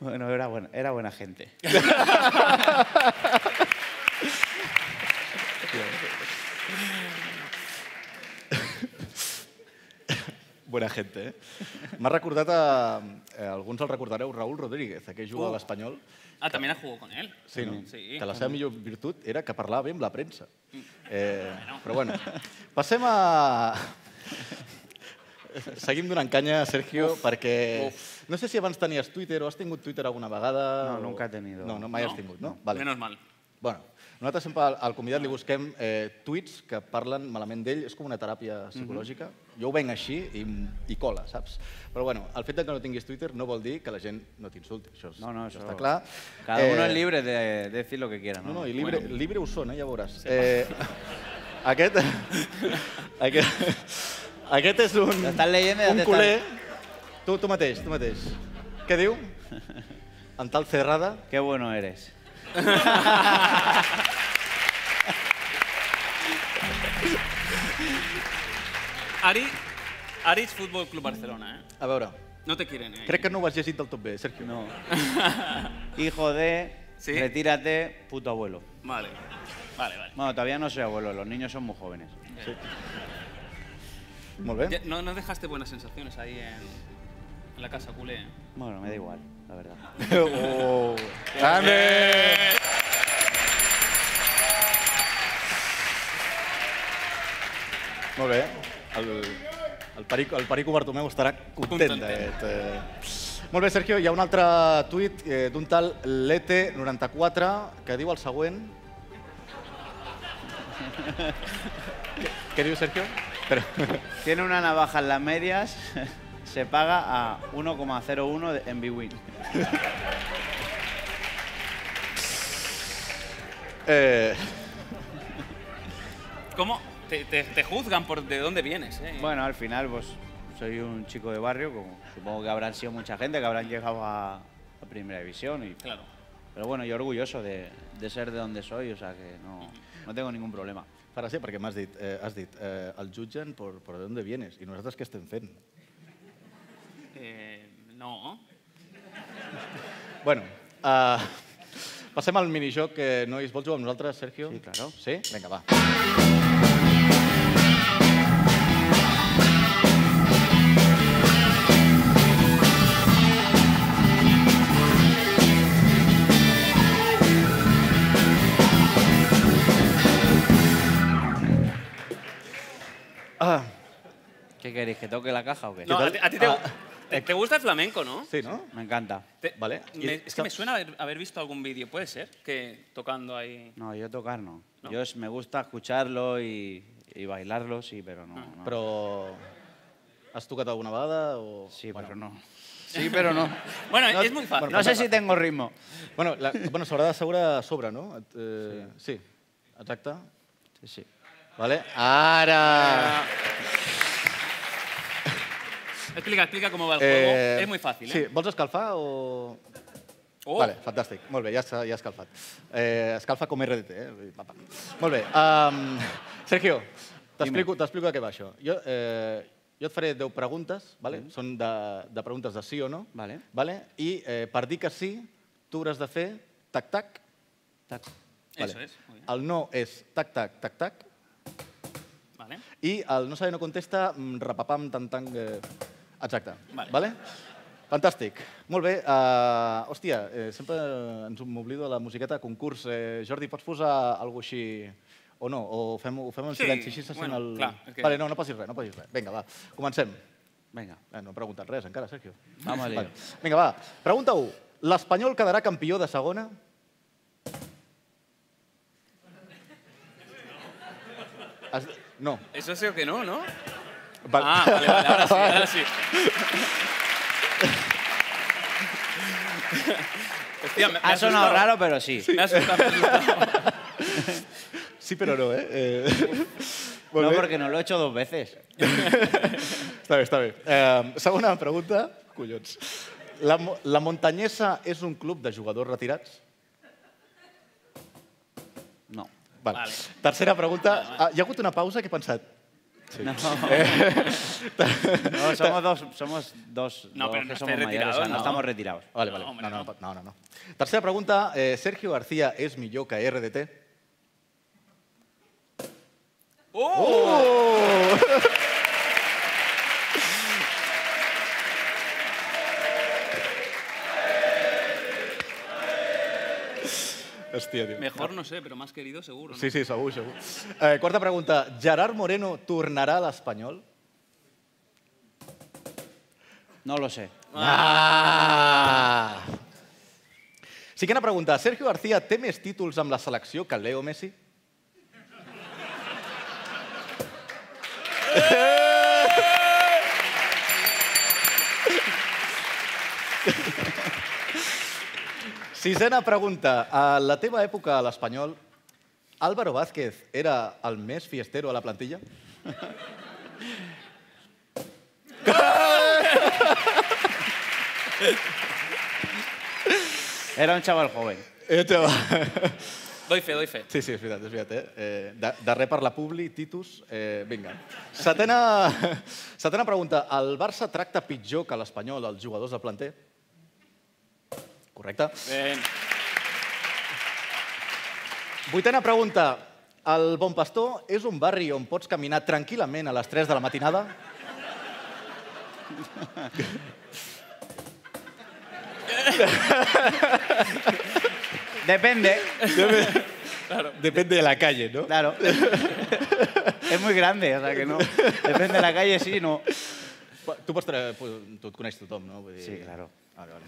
Bueno, era buena, era buena gente.
Buena gente, eh? M'ha recordat a... Eh, alguns el recordareu, Raúl Rodríguez, aquell jugador a l'Espanyol,
Ah, también ha jugado con él.
Sí, no?
Sí. Mm.
que la seva millor virtut era que parlava bé amb la premsa. Eh, però bueno, passem a... Seguim donant canya, Sergio, perquè... No sé si abans tenies Twitter o has tingut Twitter alguna vegada.
No,
o-
nunca he tenido.
No, no mai has
No.
tingut, no? Vale.
Menos mal.
Bueno, nosaltres sempre al- al convidat li busquem eh, tuits que parlen malament d'ell, és com una
Mhm.
teràpia psicològica. Jo ho venc així i, i cola, saps? Però bueno, el fet de que no tinguis Twitter no vol dir que la gent no t'insulti, això, és-
No, no,
això
això-
està clar.
Cada
Eh,
uno es libre de, de decir lo que quiera, ¿no?
No, no, i libre, bueno. libre ho són, eh, ja veuràs. Eh, aquest, aquest, aquest és un,
T'estàs leyendo i ja
un
t'estàs-
culer... Tu, tu mateix, tu mateix. Què diu? Amb tal cerrada,
Qué bueno eres.
Ari, Aris Fútbol Club Barcelona, ¿eh?
a veure,
No te quieren, ¿eh?
crec que no ho has llegit del tot bé, Sergio.
No. Hijo de,
Sí.
retírate, puto abuelo.
Vale. Vale, vale.
Bueno, todavía no soy abuelo, los niños son muy jóvenes.
Molt bé.
Ya- No, no dejaste buenas sensaciones ahí en, en la casa culé. ¿eh?
Bueno, me da igual, la verdad.
Oh, grande. Molt bé. El, el, Perico, el Perico Bartomeu estarà content.
Contentet.
d'aquest, Eh? Molt bé, Sergio, hi ha un altre tuit eh, d'un tal Lete94 que diu el següent. Què, què diu, Sergio? Espera.
Tiene una navaja en las medias, se paga a 1,01 de- en Bwin.
Eh,
¿Cómo? Te, te- te juzgan por de dónde vienes, ¿eh?
Bueno, al final, pues soy un chico de barrio, como supongo que habrán sido mucha gente que habrán llegado a, a Primera División. Y,
Claro.
pero bueno, yo orgulloso de, de ser de donde soy, o sea que no, no tengo ningún problema.
Farà ser, perquè m'has dit, eh, has dit, eh, el jutgen por, por de dónde vienes. I nosaltres què estem fent?
Eh, no.
Bueno,
ah,
uh, passem al minijoc que nois. Vols jugar amb nosaltres, Sergio?
Sí, claro.
Sí? Vinga, va.
¿Qué queréis? ¿Que toque la caja o Ah. qué?
No, a ti, a ti te,
Ah,
te- te gusta el flamenco, ¿no?
Sí, no?
Me encanta.
Te-
Vale.
me- es que me suena haber, haber visto algún vídeo, puede ser, que tocando ahí.
No, yo tocar no.
No.
Yo es- me gusta escucharlo y, y bailarlo, sí, Ah. pero no. no.
Però... Has tocat alguna vegada o...?
sí,
bueno.
pero no. Sí, pero no.
Bueno, pues
No- pues
es muy fácil.
No sé si tengo ritmo.
Bueno, la, bueno s'haurà d'asseure a sobre, no? Et- Eh, sí. sí. Exacte.
Sí, sí.
Vale.
Ah,
Ara!
Explica, explica cómo va el juego.
Eh,
es muy fácil,
Sí,
¿eh?
vols escalfar o...?
Oh,
Vale, fantàstic. Molt bé, ja està, ja escalfat. Eh, escalfa com RDT, eh? Vull dir, pa, pa. Molt bé. Um, Sergio, t'explico t'explico de què va això. Jo, eh, jo et faré 10 preguntes, vale?
Mm.
són de, de preguntes de sí o no,
Vale.
Vale? i eh, per dir que sí, tu hauràs de fer tac-tac.
Tac.
Eso es, muy bien.
El no és tac-tac, tac-tac,
vale.
i el no sabe no contesta, mm, repapam, tan, tan... Eh... Exacte.
Vale.
vale? Fantàstic. Molt bé. Uh, hòstia, eh, sempre ens m'oblido de la musiqueta de concurs. Eh, Jordi, pots posar alguna cosa així o no? O fem, ho fem en
Sí,
silenci, així se sent
bueno,
el...
clar, és que-
Vale, no, no passis res, no passis res. Vinga, va, comencem.
Venga.
Eh, no he preguntat res encara, Sergio.
Vamos al lío.
Vinga, va. Pregunta 1. L'Espanyol quedarà campió de segona? Has... No.
Eso sí o que no, ¿no?
Val-
Ah, vale, vale, ahora sí, ahora sí. Hostia, me, me
Ha sonado
asustado.
raro, pero sí.
Me ha asustado, me ha asustado.
Sí, pero no, ¿eh? Eh,
No,
volver-
porque no lo he hecho dos veces.
Està bé, està bé. Eh, segona pregunta. Collons. La, Mo- la Montanyesa és un club de jugadors retirats?
No.
Vale.
Vale.
Tercera pregunta. Ah, hi ha hagut una pausa que he pensat...
No. No, somos dos, somos dos,
No,
dos que
pero
somos
no estáis
mayores, o sea,
retirados,
no
¿no?
estamos retirados.
Vale,
No,
vale.
hombre,
no,
no.
no, no, no, no. Tercera pregunta. Eh, Sergio García és millor que RDT?
¡Oh!
Oh! Hòstia, tio.
Mejor no sé, pero más querido seguro. ¿no?
Sí, sí, segur, segur. Eh, quarta pregunta. Gerard Moreno tornarà a l'Espanyol?
No lo sé.
Ah! Cinquena pregunta. Sergio García té més títols amb la selecció que Leo Messi? Sisena pregunta. A la teva època a l'Espanyol, Álvaro Vázquez era el més fiestero a la plantilla?
Era un chaval joven.
Eto.
Doy fe, doy fe.
Sí, sí, és veritat, és veritat. Eh? Eh, da- darrer per la Publi, Titus, eh, vinga. Setena, setena pregunta. El Barça tracta pitjor que l'Espanyol els jugadors del planter? Correcte.
Bien.
Vuitena pregunta. El Bon Pastor és un barri on pots caminar tranquil·lament a les 3 de la matinada?
Depende,
Depèn de la calle, no?
claro. es muy grande, o sea que no. Depende de la calle, sí, no.
Tu, pots tra... pues, tu et coneix tothom, no? Vull dir...
Sí, claro.
Vale, vale.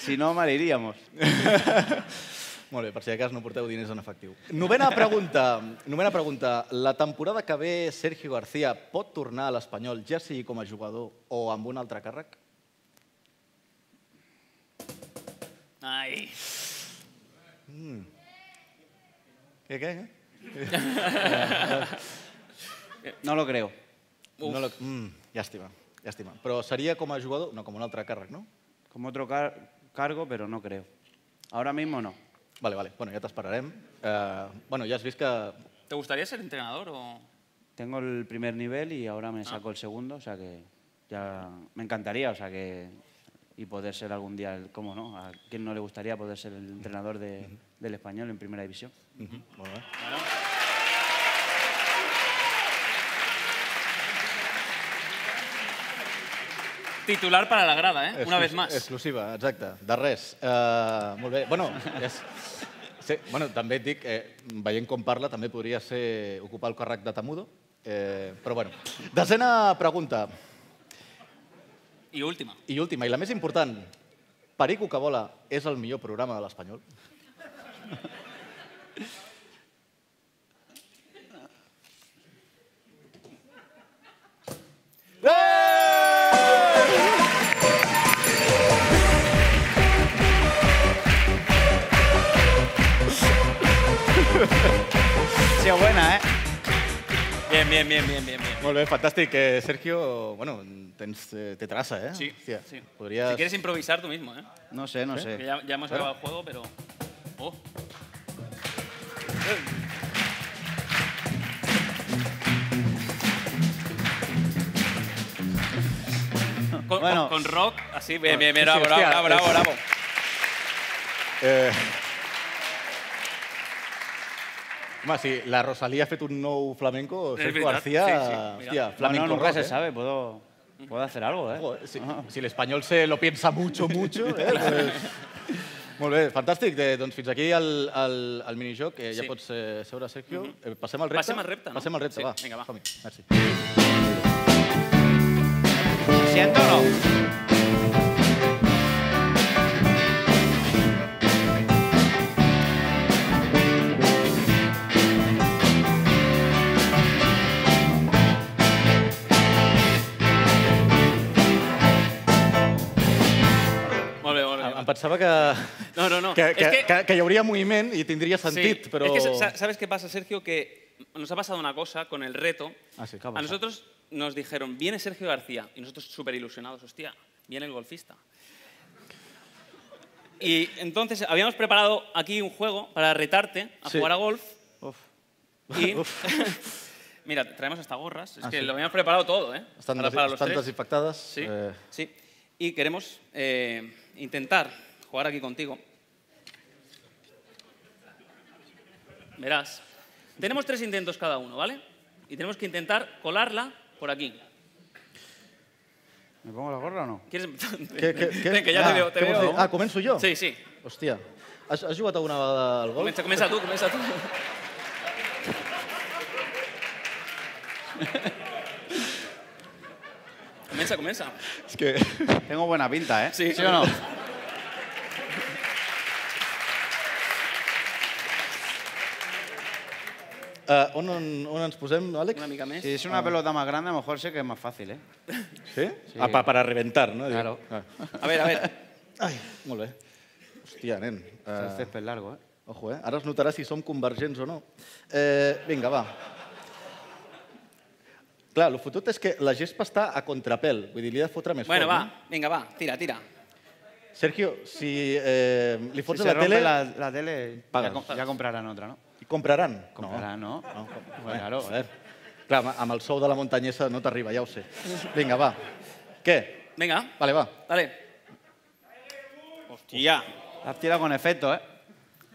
Si no, mal iríamos.
Molt bé, per si de cas no porteu diners en efectiu. Novena pregunta. Novena pregunta. La temporada que ve Sergio García pot tornar a l'Espanyol, ja sigui com a jugador o amb un altre càrrec?
Ay.
Què, què? què?
No lo creo.
No lo... mm, llàstima, llàstima. Però seria com a jugador, no com un altre càrrec, no?
Como otro car- cargo, pero no creo. Ahora mismo no.
Vale, vale. Bueno, ja t'esperarem. Eh, bueno, ja has vist que...
¿Te gustaría ser entrenador o...?
Tengo el primer nivel y ahora me saco el segundo, o sea que ya me encantaría, o sea que y poder ser algún día, el- cómo no, a quién no le gustaría poder ser el entrenador de- del español en primera división.
Uh -huh. Molt bé.
Titular para la grada, ¿eh? Una
Exclus-
vez más.
Exclusiva, exacte, de res. Uh, molt bé, bueno, és... Sí, bueno, també et dic, eh, veient com parla, també podria ser ocupar el càrrec de Tamudo, eh, però bueno. Desena pregunta,
Y última.
i última, i la més important. Perico que vola és el millor programa de l'Espanyol?
Ha sido buena, ¿eh?
Bien, bien, bien, bien, bien. bien.
Molt bé, fantàstic. Eh, Sergio, bueno, tens, eh, té traça, eh?
Sí,
Hòstia,
sí.
Podries...
Si quieres improvisar tú mismo, ¿eh?
No sé, no
Que
sé.
ya, ya hemos
Claro.
acabado el juego, pero... Oh. Con,
Bueno.
con rock, así, bien, bien, bien,
Ah, Sí, sí,
bravo, bravo,
hostia,
bravo, bravo,
es-
bravo.
Eh... Home, si la Rosalía ha fet un nou flamenco,
És
Sergio
veritat,
García...
sí, sí, mira.
hòstia, flamenco
Bueno, nunca
rock,
se
eh?
sabe, puedo, puedo hacer algo, ¿eh?
Ojo, eh, Si, si l'espanyol se lo piensa mucho, mucho... Eh? pues... Molt bé, fantàstic. Eh, doncs fins aquí el, el, el minijoc. Eh, ja
Sí. Mhm.
pots eh, seure, Sergio. eh, passem al repte?
Passem al repte, no?
Passem al repte,
Sí,
va.
vinga, va.
Som-hi. Merci.
¿Me siento o no?
Molt bé, molt bé.
Em, em pensava que...
No, no, no.
Que,
És
que,
que-
que, que hi hauria moviment i tindria
Sí.
sentit, però...
Es que, sa- ¿sabes qué pasa, Sergio? Que nos ha pasado una cosa con el reto.
Ah, sí. ¿Qué ha
A
pasado?
nosotros nos dijeron, viene Sergio García. Y nosotros súper ilusionados, hostia, viene el golfista. Y entonces habíamos preparado aquí un juego para retarte a
Sí.
jugar a golf.
Uf.
Y... Mira, traemos hasta gorras. Es
Ah,
que
sí.
lo habíamos preparado todo, ¿eh?
Estan,
para,
des,
para los
estan
tres.
desinfectades.
Sí,
Eh,
sí. Y queremos eh, intentar jugar aquí contigo. Verás. Tenemos tres intentos cada uno, ¿vale? Y tenemos que intentar colarla por aquí.
¿Me pongo la gorra o no?
¿Quieres?
Què- què- què?
Ven, que ya
Ah,
te veo. Te
què vols
veo.
dir? Ah, començo jo?
Sí, sí.
Hòstia, has, has jugat alguna vegada al golf?
Comença, comença tu, comença tu. Comença, comença.
És que...
Tengo buena pinta, ¿eh?
Sí.
¿Sí o no?
Uh, on, on, on ens posem, Àlex?
Una mica més.
Si es una pelota más grande, a lo mejor sé que es más fácil, ¿eh?
Sí? sí. Ah, pa, para reventar, no?
Claro.
Ah.
A veure, a veure.
Ai, molt bé. Hòstia, nen.
Es
Uh,
césped largo, ¿eh?
ojo, eh? Ara es notarà si som convergents o no. Eh, vinga, va. Clar, el fotut és que la gespa està a contrapèl. Vull dir, li he de fotre més
Bueno,
fort.
va, vinga, va, tira, tira.
No? Sergio, si eh, li
Si
fots
se
a la
rompe
tele, la...
la, la tele,
Pagas.
ya, com- ya comprarán otra, ¿no?
compraran.
Comprarán, ¿no?
No, com...
Bueno,
claro.
claro.
A ver. Clar, amb- amb el sou de la muntanyesa no t'arriba, ja ho sé. Vinga, va. Què?
Vinga,
Vale, va.
dale. Hòstia.
Has tirado con efecto, ¿eh?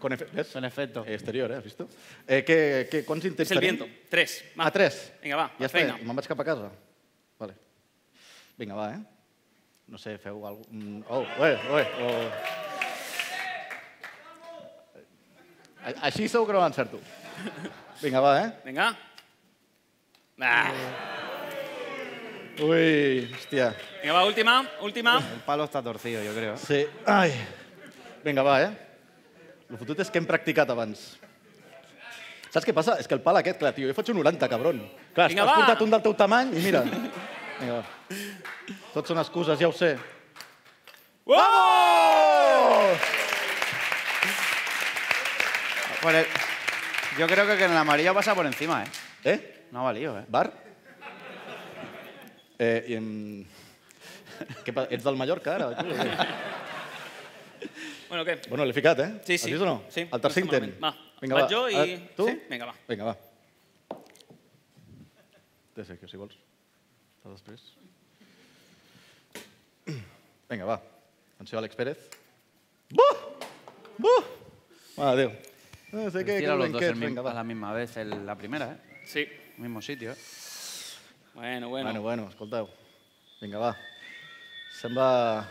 Con efe... ¿ves?
Con efecto.
Exterior, eh? Has visto? Eh, què, què, quants intents
És el viento. Tres. Va.
A tres?
Vinga, va,
Ja
ja
està, eh,
feina.
me'n vaig cap a casa. Vale. Vinga, va, eh? No sé, feu algo... mm, Oh, ué, ué, oh. A- Així segur que no l'encerto. Vinga, va, eh?
Vinga. Ah.
Ui, hòstia.
Vinga, va, última, última.
El palo está torcido, yo creo. ¿eh?
Sí, ai. Vinga, va, eh? El fotut és que hem practicat abans. Saps què passa? És que el pal aquest, clar, tio, jo faig un 90, cabron. Clar,
Vinga,
has
va.
portat un del teu tamany i mira. Vinga, va. Tot són excuses, ja ho sé.
Por el- Yo creo que en el amarillo pasa por encima, ¿eh?
Eh?
No ha valido, ¿eh?
Bar? Eh, i, em, Què, pa- ets del Mallorca, ara? tu?
Bueno, què?
bueno, l'he ficat, eh?
Sí, sí.
Has vist o no?
Sí,
El tercer
no està
intent.
malament. Va, vaig jo i-
Ah, tu?
Sí, vinga, va.
Vinga, va. Té, Sergio, si vols. Estàs després. Vinga, va. Atenció, Àlex Pérez. Buh! Buh! Mare de Déu. No sé què,
Tira
que
los dos el
blanquets.
mi-
Vinga,
a
va.
la misma vez, el- la primera, ¿eh?
Sí.
Mismo sitio, ¿eh?
Bueno, bueno.
Bueno, bueno, escolteu. Vinga, va. Sembla...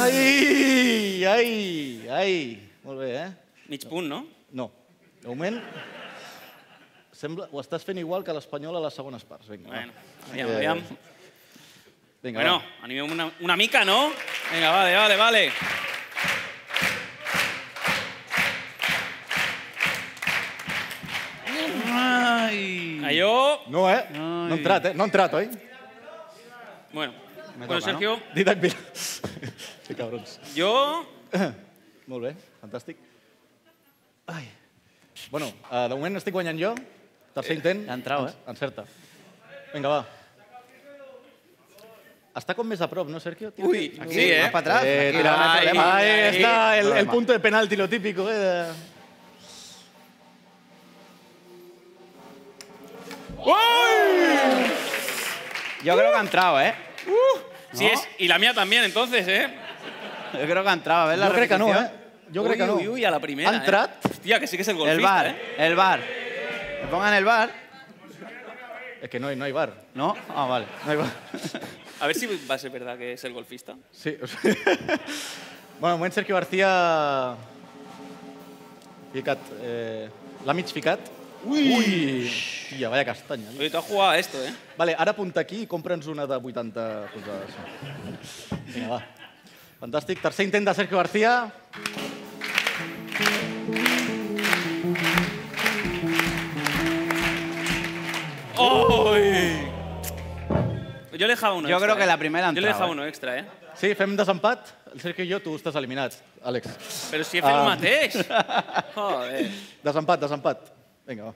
Ai, ai, ai. Molt bé, eh?
Mig punt, no?
No. De moment, sembla, ho estàs fent igual que l'Espanyol a les segones parts. Vinga,
Bueno,
va.
aviam,
Eh,
aviam.
Vinga,
Bueno,
va.
animem una, una mica, no? Vinga, vale, vale, vale.
¡Ay!
Allò...
No, eh? No ha entrat, eh? No ha entrat, oi?
Bueno,
Me
bueno
toca,
Sergio,
Didac Vila. que cabrons.
jo...
Molt bé, fantàstic. Ai. Bueno, eh, de moment estic guanyant jo.
Eh,
Tercer intent.
ha entrat,
en- Encerta. Vinga, va. Està com més a prop, no, Sergio? Tira,
Ui,
tira.
sí, eh?
Más para atrás.
Eh, tira,
no hay
ahí,
problema.
ahí
Ahí.
está el, el
Problema.
punto de penalti, lo típico. Eh. de-
Yo creo que ha entrado, ¿eh?
Sí es, y la mía también, entonces, ¿eh?
Yo creo que ha entrado, ¿ves? La
Jo crec que no, eh?
repetición.
Jo crec
uy,
que no.
Uy, uy, a la primera,
Ha entrat.
Eh? Hòstia, que sí que és el golfista,
El bar,
eh?
el bar. Que pongan el bar.
És que no hay, no hay bar.
No, ah, vale.
No hay bar.
A ver si va a ser verdad que es el golfista.
Sí. o sigui- bueno, de moment Sergio García... Ficat, eh, l'ha mig ficat. Ui! Ui! Tia, vaya castanya.
Oye, tú has jugado a esto, ¿eh?
Vale, ara apunta aquí i compra'ns una de 80 posades. Vinga, va. Fantàstic. Tercer intent de Sergio García.
¡Uy! Yo le dejaba uno
Yo
extra,
creo que
eh.
la primera ha
Yo le dejaba
entrado, eh.
uno extra, ¿eh?
Sí, fem desempat. El Sergio i jo, tu estàs eliminat, Àlex.
Pero si he fet
Ah.
el mateix. Joder.
Desempat, desempat. Vinga, va.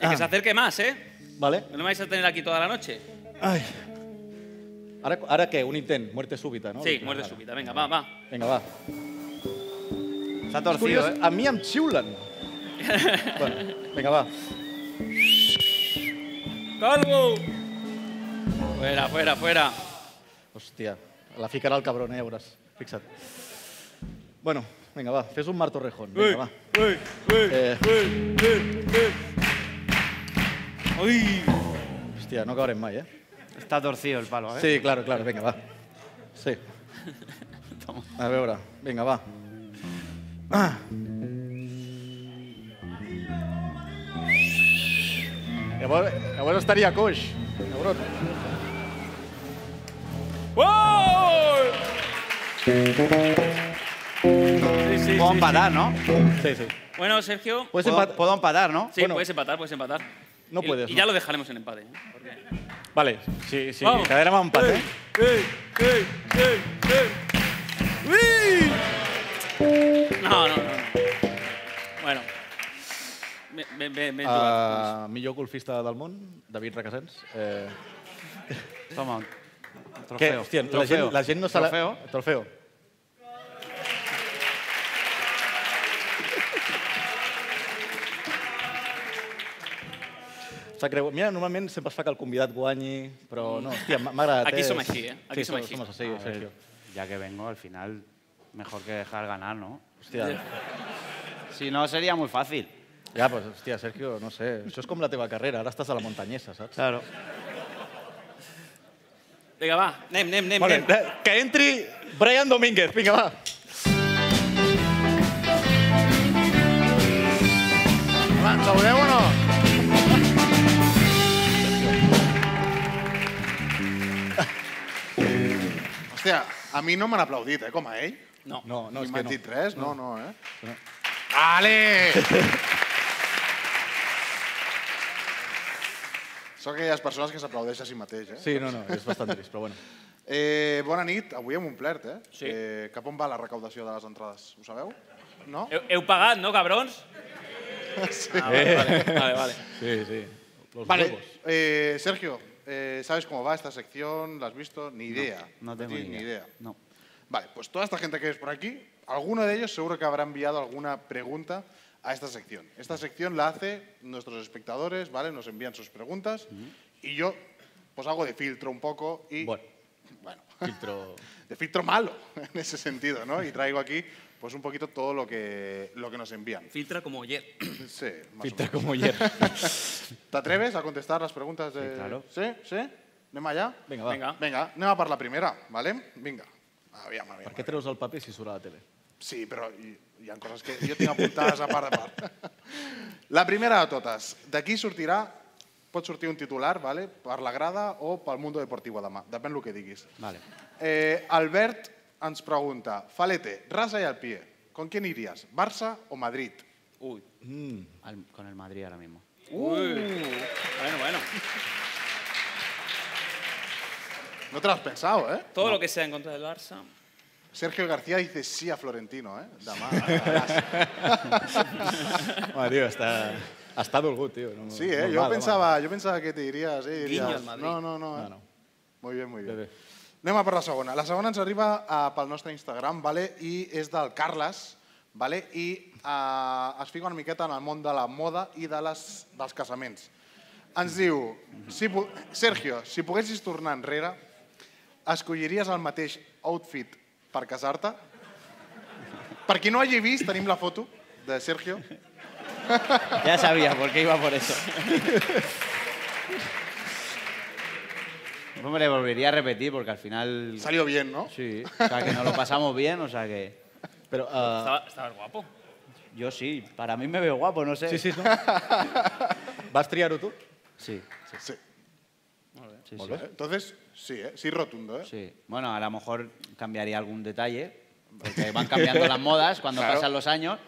El
Ah.
que se acerque más, ¿eh?
Vale.
No me vais a tener aquí toda la noche.
Ai. Ara, ara què? Un intent. Muerte súbita, no?
Sí, muerte súbita. Venga, va, va.
Vinga, va.
Está
És curiós,
torcido, ¿eh?
a mi em xiulen. bueno, vinga, va.
¡Calvo! Fuera, fuera, fuera.
Hòstia, la ficarà el cabron, eh, ja veuràs. Fixa't. Bueno, vinga, va, fes un Marto Rejón. Vinga, va.
¡Uy, uy,
Eh.
uy, uy, uy! ¡Uy!
Hòstia, no acabarem mai, eh?
Está torcido el palo, ¿eh?
Sí, claro, claro, vinga, va. Sí. A veure, vinga, va. Ah. Llavors, llavors estaria coix. Llavors...
¡Wow! Sí, sí,
Puedo
sí,
empatar, ¿no?
Sí, sí.
sí. Bueno, Sergio,
Puedes
Puedo,
empatar.
puedo empatar, ¿no?
sí,
bueno.
puedes empatar, puedes empatar.
No
Y-
puedes,
Y
no.
ya lo dejaremos en empate. ¿eh?
Vale, sí, sí.
Vamos.
Quedarem amb empat, eh?
¡Ey, ey, ey, ey! ¡Uy! No, no, no. no. Bueno. Ben, ben, ben, ben jugat.
Ah.
Uh, millor golfista del món, David Requesens. Eh,
Toma. un Trofeo.
que, hòstia, la gent,
Trofeo.
la gent no se la...
Trofeo.
Trofeo. Sap greu. Mira, normalment sempre es fa que el convidat guanyi, però no, hòstia, m'ha m'ha agradat.
Aquí
eh?
som així, eh? Aquí
sí,
som
som,
així.
som així,
A ver,
Sergio.
ya que vengo, al final, mejor que dejar ganar, ¿no?
Hòstia,
Si no, sería muy fácil.
ja, pues, hòstia, Sergio, no sé, això és com la teva carrera, ara estàs a la muntanyesa, saps?
Claro.
Vinga, va, anem, anem, anem.
Vale,
anem.
que entri Brian Domínguez, vinga, va. Va, ens saludeu o no?
Hòstia, a mi no m'han aplaudit, eh, com a ell.
No.
No, no,
Ni
és que
m'han
no.
dit res, no, no, eh. Vale! Són aquelles persones que s'aplaudeix a si mateix, eh?
Sí, no, no, és bastant trist, però bueno.
Eh, bona nit, avui hem omplert, eh?
Sí.
eh? Cap on va la recaudació de les entrades, ho sabeu? No?
Heu, heu pagat, no, cabrons?
Sí.
Ah, vale, vale, vale, vale.
Sí, sí. Los
Vale, eh, Sergio, eh, ¿sabes cómo va esta sección? ¿La has visto? Ni idea.
No tengo
tienes
ni idea. No.
Vale, pues toda esta gente que ves por aquí, alguno de ellos seguro que habrá enviado alguna pregunta a esta sección. Esta sección la hace nuestros espectadores, ¿vale? Nos envían sus preguntas y yo pues hago de filtro un poco y...
Bueno.
Bueno,
Filtro...
de filtro malo en ese sentido, ¿no? Y traigo aquí pues un poquito todo lo que, lo que nos envían.
Filtra como ayer.
Sí, más o
Filtra
menos.
com ayer.
¿Te atreves a contestar las preguntas de...?
Sí, claro.
Sí, sí? Anem allà?
Vinga, va.
Vinga.
Vinga, anem a per la primera, vale? Vinga. Aviam, aviam.
Per què treus el paper si surt a la tele?
Sí, però hi, hi ha coses que jo tinc apuntades a part de part. La primera de totes. D'aquí sortirà, pot sortir un titular, vale? per la grada o pel Mundo Deportivo demà, depèn del que diguis.
Vale.
Eh, Albert ens pregunta, Falete, rasa i al pie, ¿con quién irías? ¿Barça o Madrid?
Uy.
Al- con el Madrid ahora mismo.
Bueno, bueno.
No te lo has pensado, ¿eh?
Todo lo que sea en contra del Barça.
Sergio García dice sí a Florentino, ¿eh? Demà. a Barça.
Home, tio, està... Està dolgut, tio. No,
Sí, ¿eh? Yo pensaba, yo pensaba que te dirías, eh?
Guiño
dirías,
al Madrid.
No, no, no. eh?
No, no.
Molt bé, molt bé.
Bé, bé.
Anem a per la segona. La segona ens arriba eh, pel nostre Instagram, vale? i és del Carles, vale? i eh, es fica una miqueta en el món de la moda i de les, dels casaments. Ens diu, si, pu- Sergio, si poguessis tornar enrere, escolliries el mateix outfit per casar-te? Per qui no hagi vist, tenim la foto de Sergio.
Ya sabía por qué iba por eso. Hombre, volvería a repetir porque al final.
Salió bien, no?
Sí, o sea que nos lo pasamos bien, o sea que. eh,
Però... Uh...
Estaba, estaba guapo.
Yo sí, para mí me veo guapo, no sé.
Sí, sí, no? Vas triar-ho tu?
Sí,
Sí.
sí, sí.
Eh, Entonces, sí, eh? sí rotundo, eh?
Sí. Bueno, a lo mejor cambiaría algún detalle, porque van cambiando las modas cuando
Claro.
pasan los años,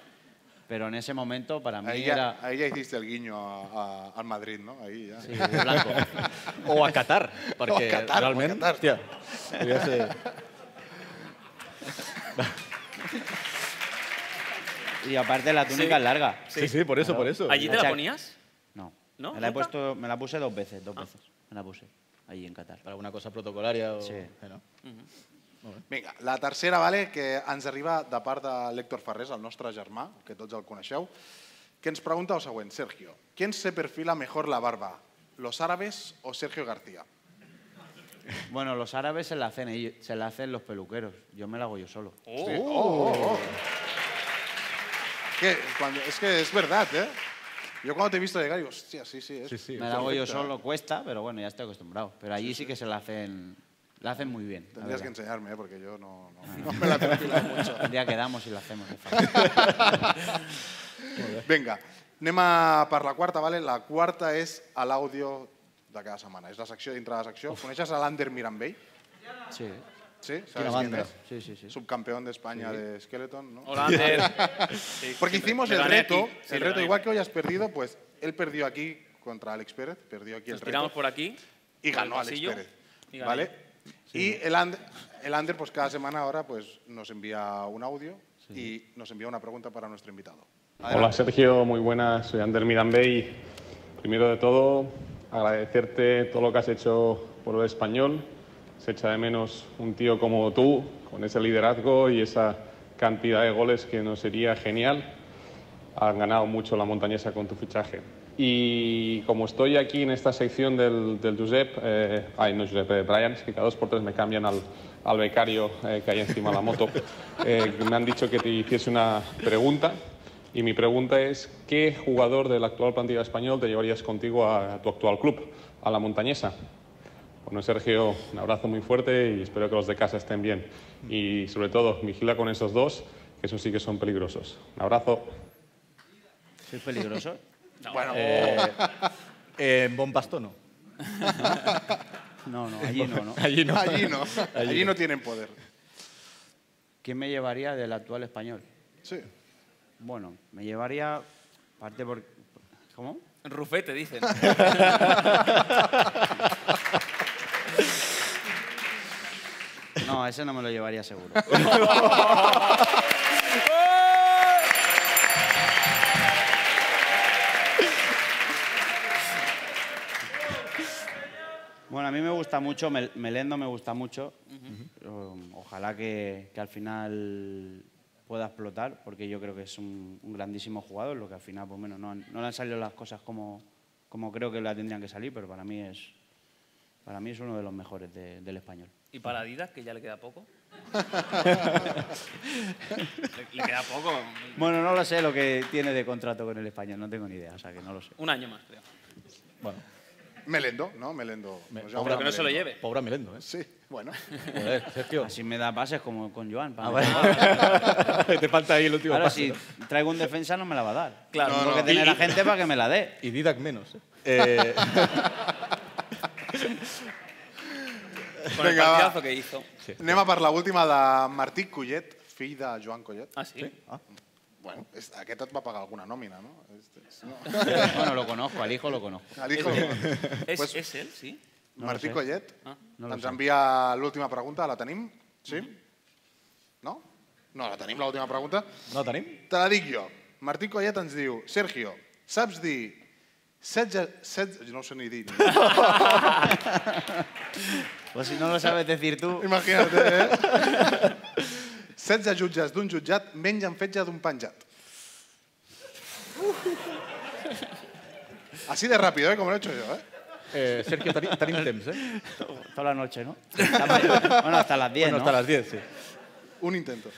pero en ese momento para mí
Ahí ya,
era
ahí ya hiciste el guiño a- a- al Madrid, ¿no? Ahí ya.
sí, blanco.
O a Oh, Qatar, perquè
Qatar, o a
realment...
Qatar.
Hòstia, podria ser...
Y aparte la túnica es larga.
Sí, sí, por eso, por eso.
¿Allí te
O
la
sea-
ponías?
No.
¿No?
Me la, he
¿Nunca?
puesto, me la puse dos veces, dos veces. Me la puse allí en Qatar.
Per alguna cosa protocolaria o...
Sí.
Eh, no?
Vinga, la tercera, vale, que ens arriba de part de l'Hèctor Ferrés, el nostre germà, que tots el coneixeu, que ens pregunta el següent, Sergio, ¿quién se perfila mejor la barba? ¿Los árabes o Sergio García?
Bueno, los árabes se la hacen ellos- se la hacen los peluqueros. Yo me la hago yo solo.
Sí. Oh, oh, oh. Que, cuando- es que es verdad, ¿eh? Yo cuando te he visto llegar digo, hostia, sí, sí. Es
Sí, sí.
me la hago yo
perfecta.
solo, cuesta, pero bueno, ya estoy acostumbrado. Pero allí sí que se la hacen La hacen muy bien. la
Tendrías que
verdad.
enseñarme, ¿eh? porque yo no, no- no me la he perfilado mucho.
Un día quedamos y la hacemos. por favor.
Vinga, anem a per la quarta, vale? la quarta és a l'àudio de cada setmana. És la secció dintre de la secció. Coneixes a l'Ander Mirambell?
Sí,
Sí? Sabes
Quina
quién
banda.
es?
sí, sí. sí.
Subcampeón de España de Skeleton, ¿no?
Hola, Ander. Sí,
Porque
sí, me-
hicimos
me
el
gané aquí.
reto,
Sí,
el
me
reto,
gané.
igual que hoy has perdido, pues él perdió aquí contra Alex Pérez, perdió aquí el
Nos tiramos
reto
por aquí.
y
por el
ganó Alex
pasillo,
Pérez,
y gané.
¿vale? Y el Ander, el Ander, pues cada semana ahora pues nos envía un audio y nos envía una pregunta para nuestro invitado.
Hola Sergio, muy buenas, soy Ander Mirambey. Primero de todo, agradecerte todo lo que has hecho por el español. Se echa de menos un tío como tú, con ese liderazgo y esa cantidad de goles que nos sería genial. Han ganado mucho la montañesa con tu fichaje. Y como estoy aquí en esta sección del, del Josep, eh, ay no Josep, eh, Brian, es que cada dos por tres me cambian al, al becario eh, que hay encima de la moto, eh, me han dicho que te hiciese una pregunta. Y mi pregunta es, ¿qué jugador de la actual plantilla español te llevarías contigo a, a tu actual club, a la montañesa? Bueno, Sergio, un abrazo muy fuerte y espero que los de casa estén bien. Y sobre todo, vigila con esos dos, que esos sí que son peligrosos. Un abrazo.
¿Soy peligroso?
bueno,
Eh, en Bombasto no.
No, no, allí no, ¿no?
Allí no.
allí no, allí no tienen poder.
¿Quién me llevaría del actual español?
Sí.
Bueno, me llevaría parte por... ¿Cómo?
Rufete, dicen.
No, ese no me lo llevaría seguro. Bueno, a mí me gusta mucho, Mel- Melendo me gusta mucho. Um, Ojalá que, que al final pueda explotar, porque yo creo que es un, un grandísimo jugador, lo que al final, pues bueno, no, han- no le han salido las cosas como, como creo que la tendrían que salir, pero para mí es, para mí es uno de los mejores de- del español.
Y para Adidas, que ya le queda poco. le, le queda poco.
Bueno, no lo sé lo que tiene de contrato con el español, no tengo ni idea, o sea que no lo sé.
Un año más, creo.
Melendo, ¿no? Melendo. Nos llama
Pero que no se lo
Melendo.
lleve.
Pobre Melendo, ¿eh?
Sí, bueno.
Joder, Sergio.
Así me da pases como con Joan. para mí.
Te falta ahí el último
Claro,
paso.
si traigo un defensa no me la va a dar.
Claro.
Tengo que tener a gente para que me la dé.
Y Didac menos. ¿eh? Eh,
Con el
Venga, va.
partidazo que hizo.
Anem a per l'última de Martí Collet, fill de Joan Collet.
Ah, sí.
Bueno, és, aquest et va pagar alguna nòmina, no? Este, no.
Bueno, lo conozco, al hijo lo conozco.
Ah,
El hijo,
¿Es,
pues,
es él, sí.
Martí Collet
Ah,
no lo
ens
sé.
envia l'última pregunta, la tenim? Sí?
Mm-hmm.
No? No la tenim, l'última pregunta.
no la tenim?
Te la dic jo. Martí Collet ens diu, Sergio, saps dir setze... setze... No ho sé ni dir.
Pues si no lo sabes decir tú,
Imagina't, eh? Setze jutges d'un jutjat mengen fetge d'un penjat. Así de rápido, ¿eh? Como lo he hecho yo, ¿eh?
Eh, Sergio, tenim, tenim temps, eh?
toda la noche, ¿no? Bueno, hasta las 10,
Bueno,
¿no?
hasta las 10, sí.
Un intento.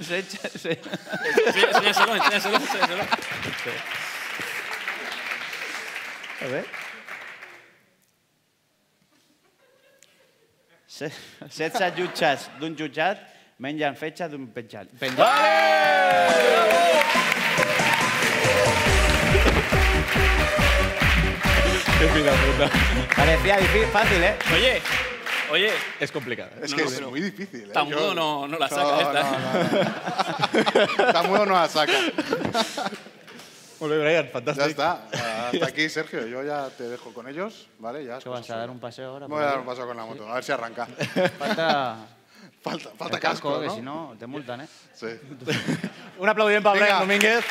Se echa- se-
Sí, enséñaselo, enséñaselo, enséñaselo.
A ver.
se- Setze jutges d'un jutjat mengen fetge d'un penjat. Parecía difícil, fácil, ¿eh?
Oye, oye,
Es eh. complicada.
Es
No,
que
no,
es
pero-
muy difícil, ¿eh?
Tamudo
Yo-
no- no la saca
no, no, no. Tamudo no la saca.
Molt bé, Brian,
Ya
fantàstic.
está. Ah, Hasta aquí, Sergio. Yo ya te dejo con ellos, ¿vale? Ya. es
¿Qué
cosa
vas a dar
suya.
un paseo ahora?
Me voy a dar un paso con la moto, a ver si arranca.
Falta,
Falta, falta
el casco,
casco,
que
¿no?
si no te multan, ¿eh?
Sí.
Un aplaudiment per
Vinga.
Brian Domínguez.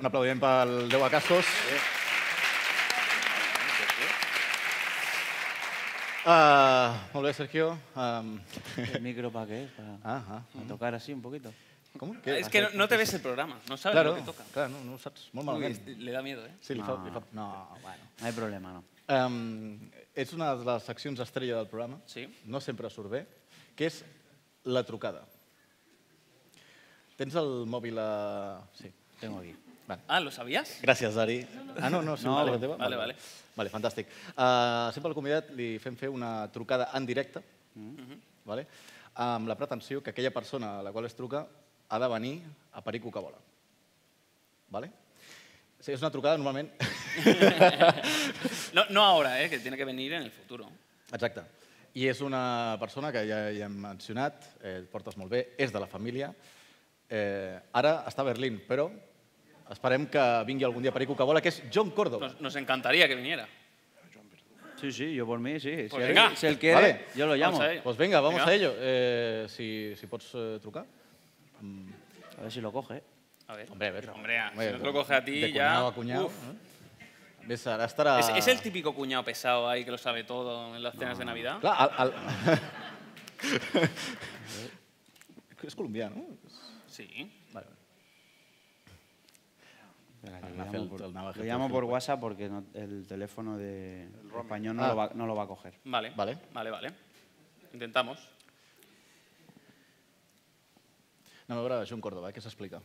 Un aplaudiment pel Déu a Cascos. Uh, molt bé, Sergio. Um, Eh,
¿El micro para qué? Para,
ah, ah.
Ah. para tocar así un poquito.
Com?
Ah, És que no, no te ves el programa, no sabes
Claro,
lo que toca.
clar, no, no ho saps. Molt
Uy,
malament.
este- le da miedo, ¿eh?
Sí, li fa, li fa... No, bueno.
No hay problema, no.
Um, és una de les seccions estrella del programa,
Sí.
no sempre surt bé, que és la trucada. Tens el mòbil a... Sí.
Tengo aquí.
Ah, ¿lo sabías?
Gràcies, Dari. Ah, no, no, sí,
No,
vale,
vale,
teva?
vale, vale.
Vale, fantàstic. Uh, sempre al convidat li fem fer una trucada en directe, vale? amb la pretensió que aquella persona a la qual es truca ha de venir a parir Coca-Cola. Vale? Sí, és una trucada normalment...
No, no ahora, ¿eh? Que tiene que venir en el futuro.
Exacte. I és una persona que ja, ja hem mencionat, eh, et portes molt bé, és de la família. Eh, ara està a Berlín, però esperem que vingui algun dia a parir Coca-Cola, que és John Córdoba.
Nos, nos encantaría que viniera.
Sí, sí, yo por mí, sí.
Pues
si,
venga.
él, si él quiere,
Vale.
yo lo llamo.
Vamos a ello.
A,
Pues venga, vamos
Venga.
a ello. Eh, si, si pots eh, trucar.
ver si lo coge. eh.
A ver.
Hombre, a ver.
Hombre, ah, si no te lo coge a ti ya.
de cuñado a cuñado.
Uf.
¿eh? Ves, ara estarà...
¿Es, es el típico cuñado pesado ahí que lo sabe todo en las cenas
Ah,
de Navidad?
Clar, al, al... és colombià, no?
Sí.
Vale, vale.
Venga,
Ah,
que lo llamo
me hace el-
por,
el navaje,
lo
tío,
llamo
que
por
lo-
WhatsApp porque no- el teléfono de español no,
Ah.
lo va, no lo va a coger.
Vale.
Vale.
Vale, vale. Intentamos.
Anem a veure John Córdoba, eh, què s'explica?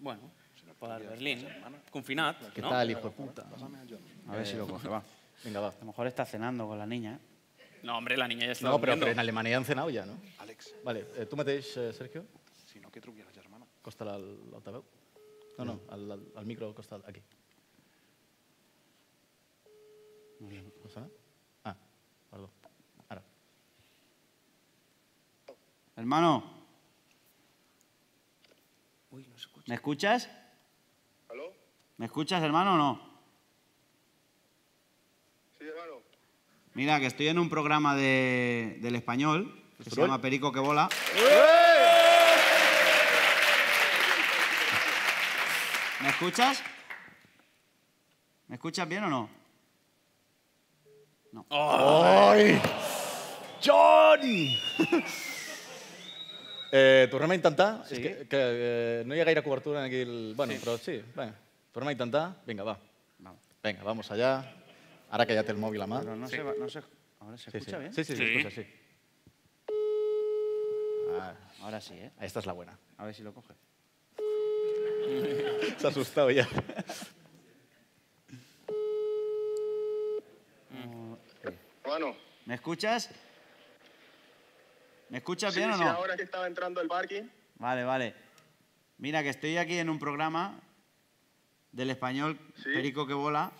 Bueno, para Berlín. Confinat,
Què
¿no?
tal, hijo de puta?
A ver si lo coge, va.
Vinga, va.
Eh, A lo mejor está cenando con la niña. ¿eh?
No, hombre, la niña ya está
No, però,
durmiendo.
però en Alemanya han cenat ja, no?
Àlex,
Vale, eh, tu mateix, eh, Sergio,
si no, que truqui a la germana.
costa l'altaveu. No, no, el, el, el micro al costat, aquí. No sona? Ah, perdó. Ara.
Hermano,
Uy, no se escucha.
¿me escuchas?
¿Aló?
¿Me escuchas, hermano, o no?
Sí, hermano.
Mira, que estoy en un programa de, del español que se llama Perico que Bola.
¡Eh!
¿Me escuchas? ¿Me escuchas bien o no?
Ai! John! Eh, tornem a intentar. Sí? És que, que eh, no hi ha gaire cobertura en aquí. El... Bueno, sí. però sí, bé. Tornem a intentar. Vinga, va.
Vamos.
Vinga, vamos allá. Ara que ja té el mòbil a mà.
Pero no se, va- no se- ahora se
Sí, sí.
escucha bien.
Sí, sí, sí.
Sí.
Escucha, sí. Ah,
Ahora sí, ¿eh?
esta es la buena.
A ver si lo coge.
Se ha asustado ya.
Hermano.
¿Me escuchas? ¿Me escuchas
Sí,
bien o
sí,
no?
ahora que estaba entrando al parking.
Vale, vale. Mira, que estoy aquí en un programa del español
Sí.
Perico que Bola.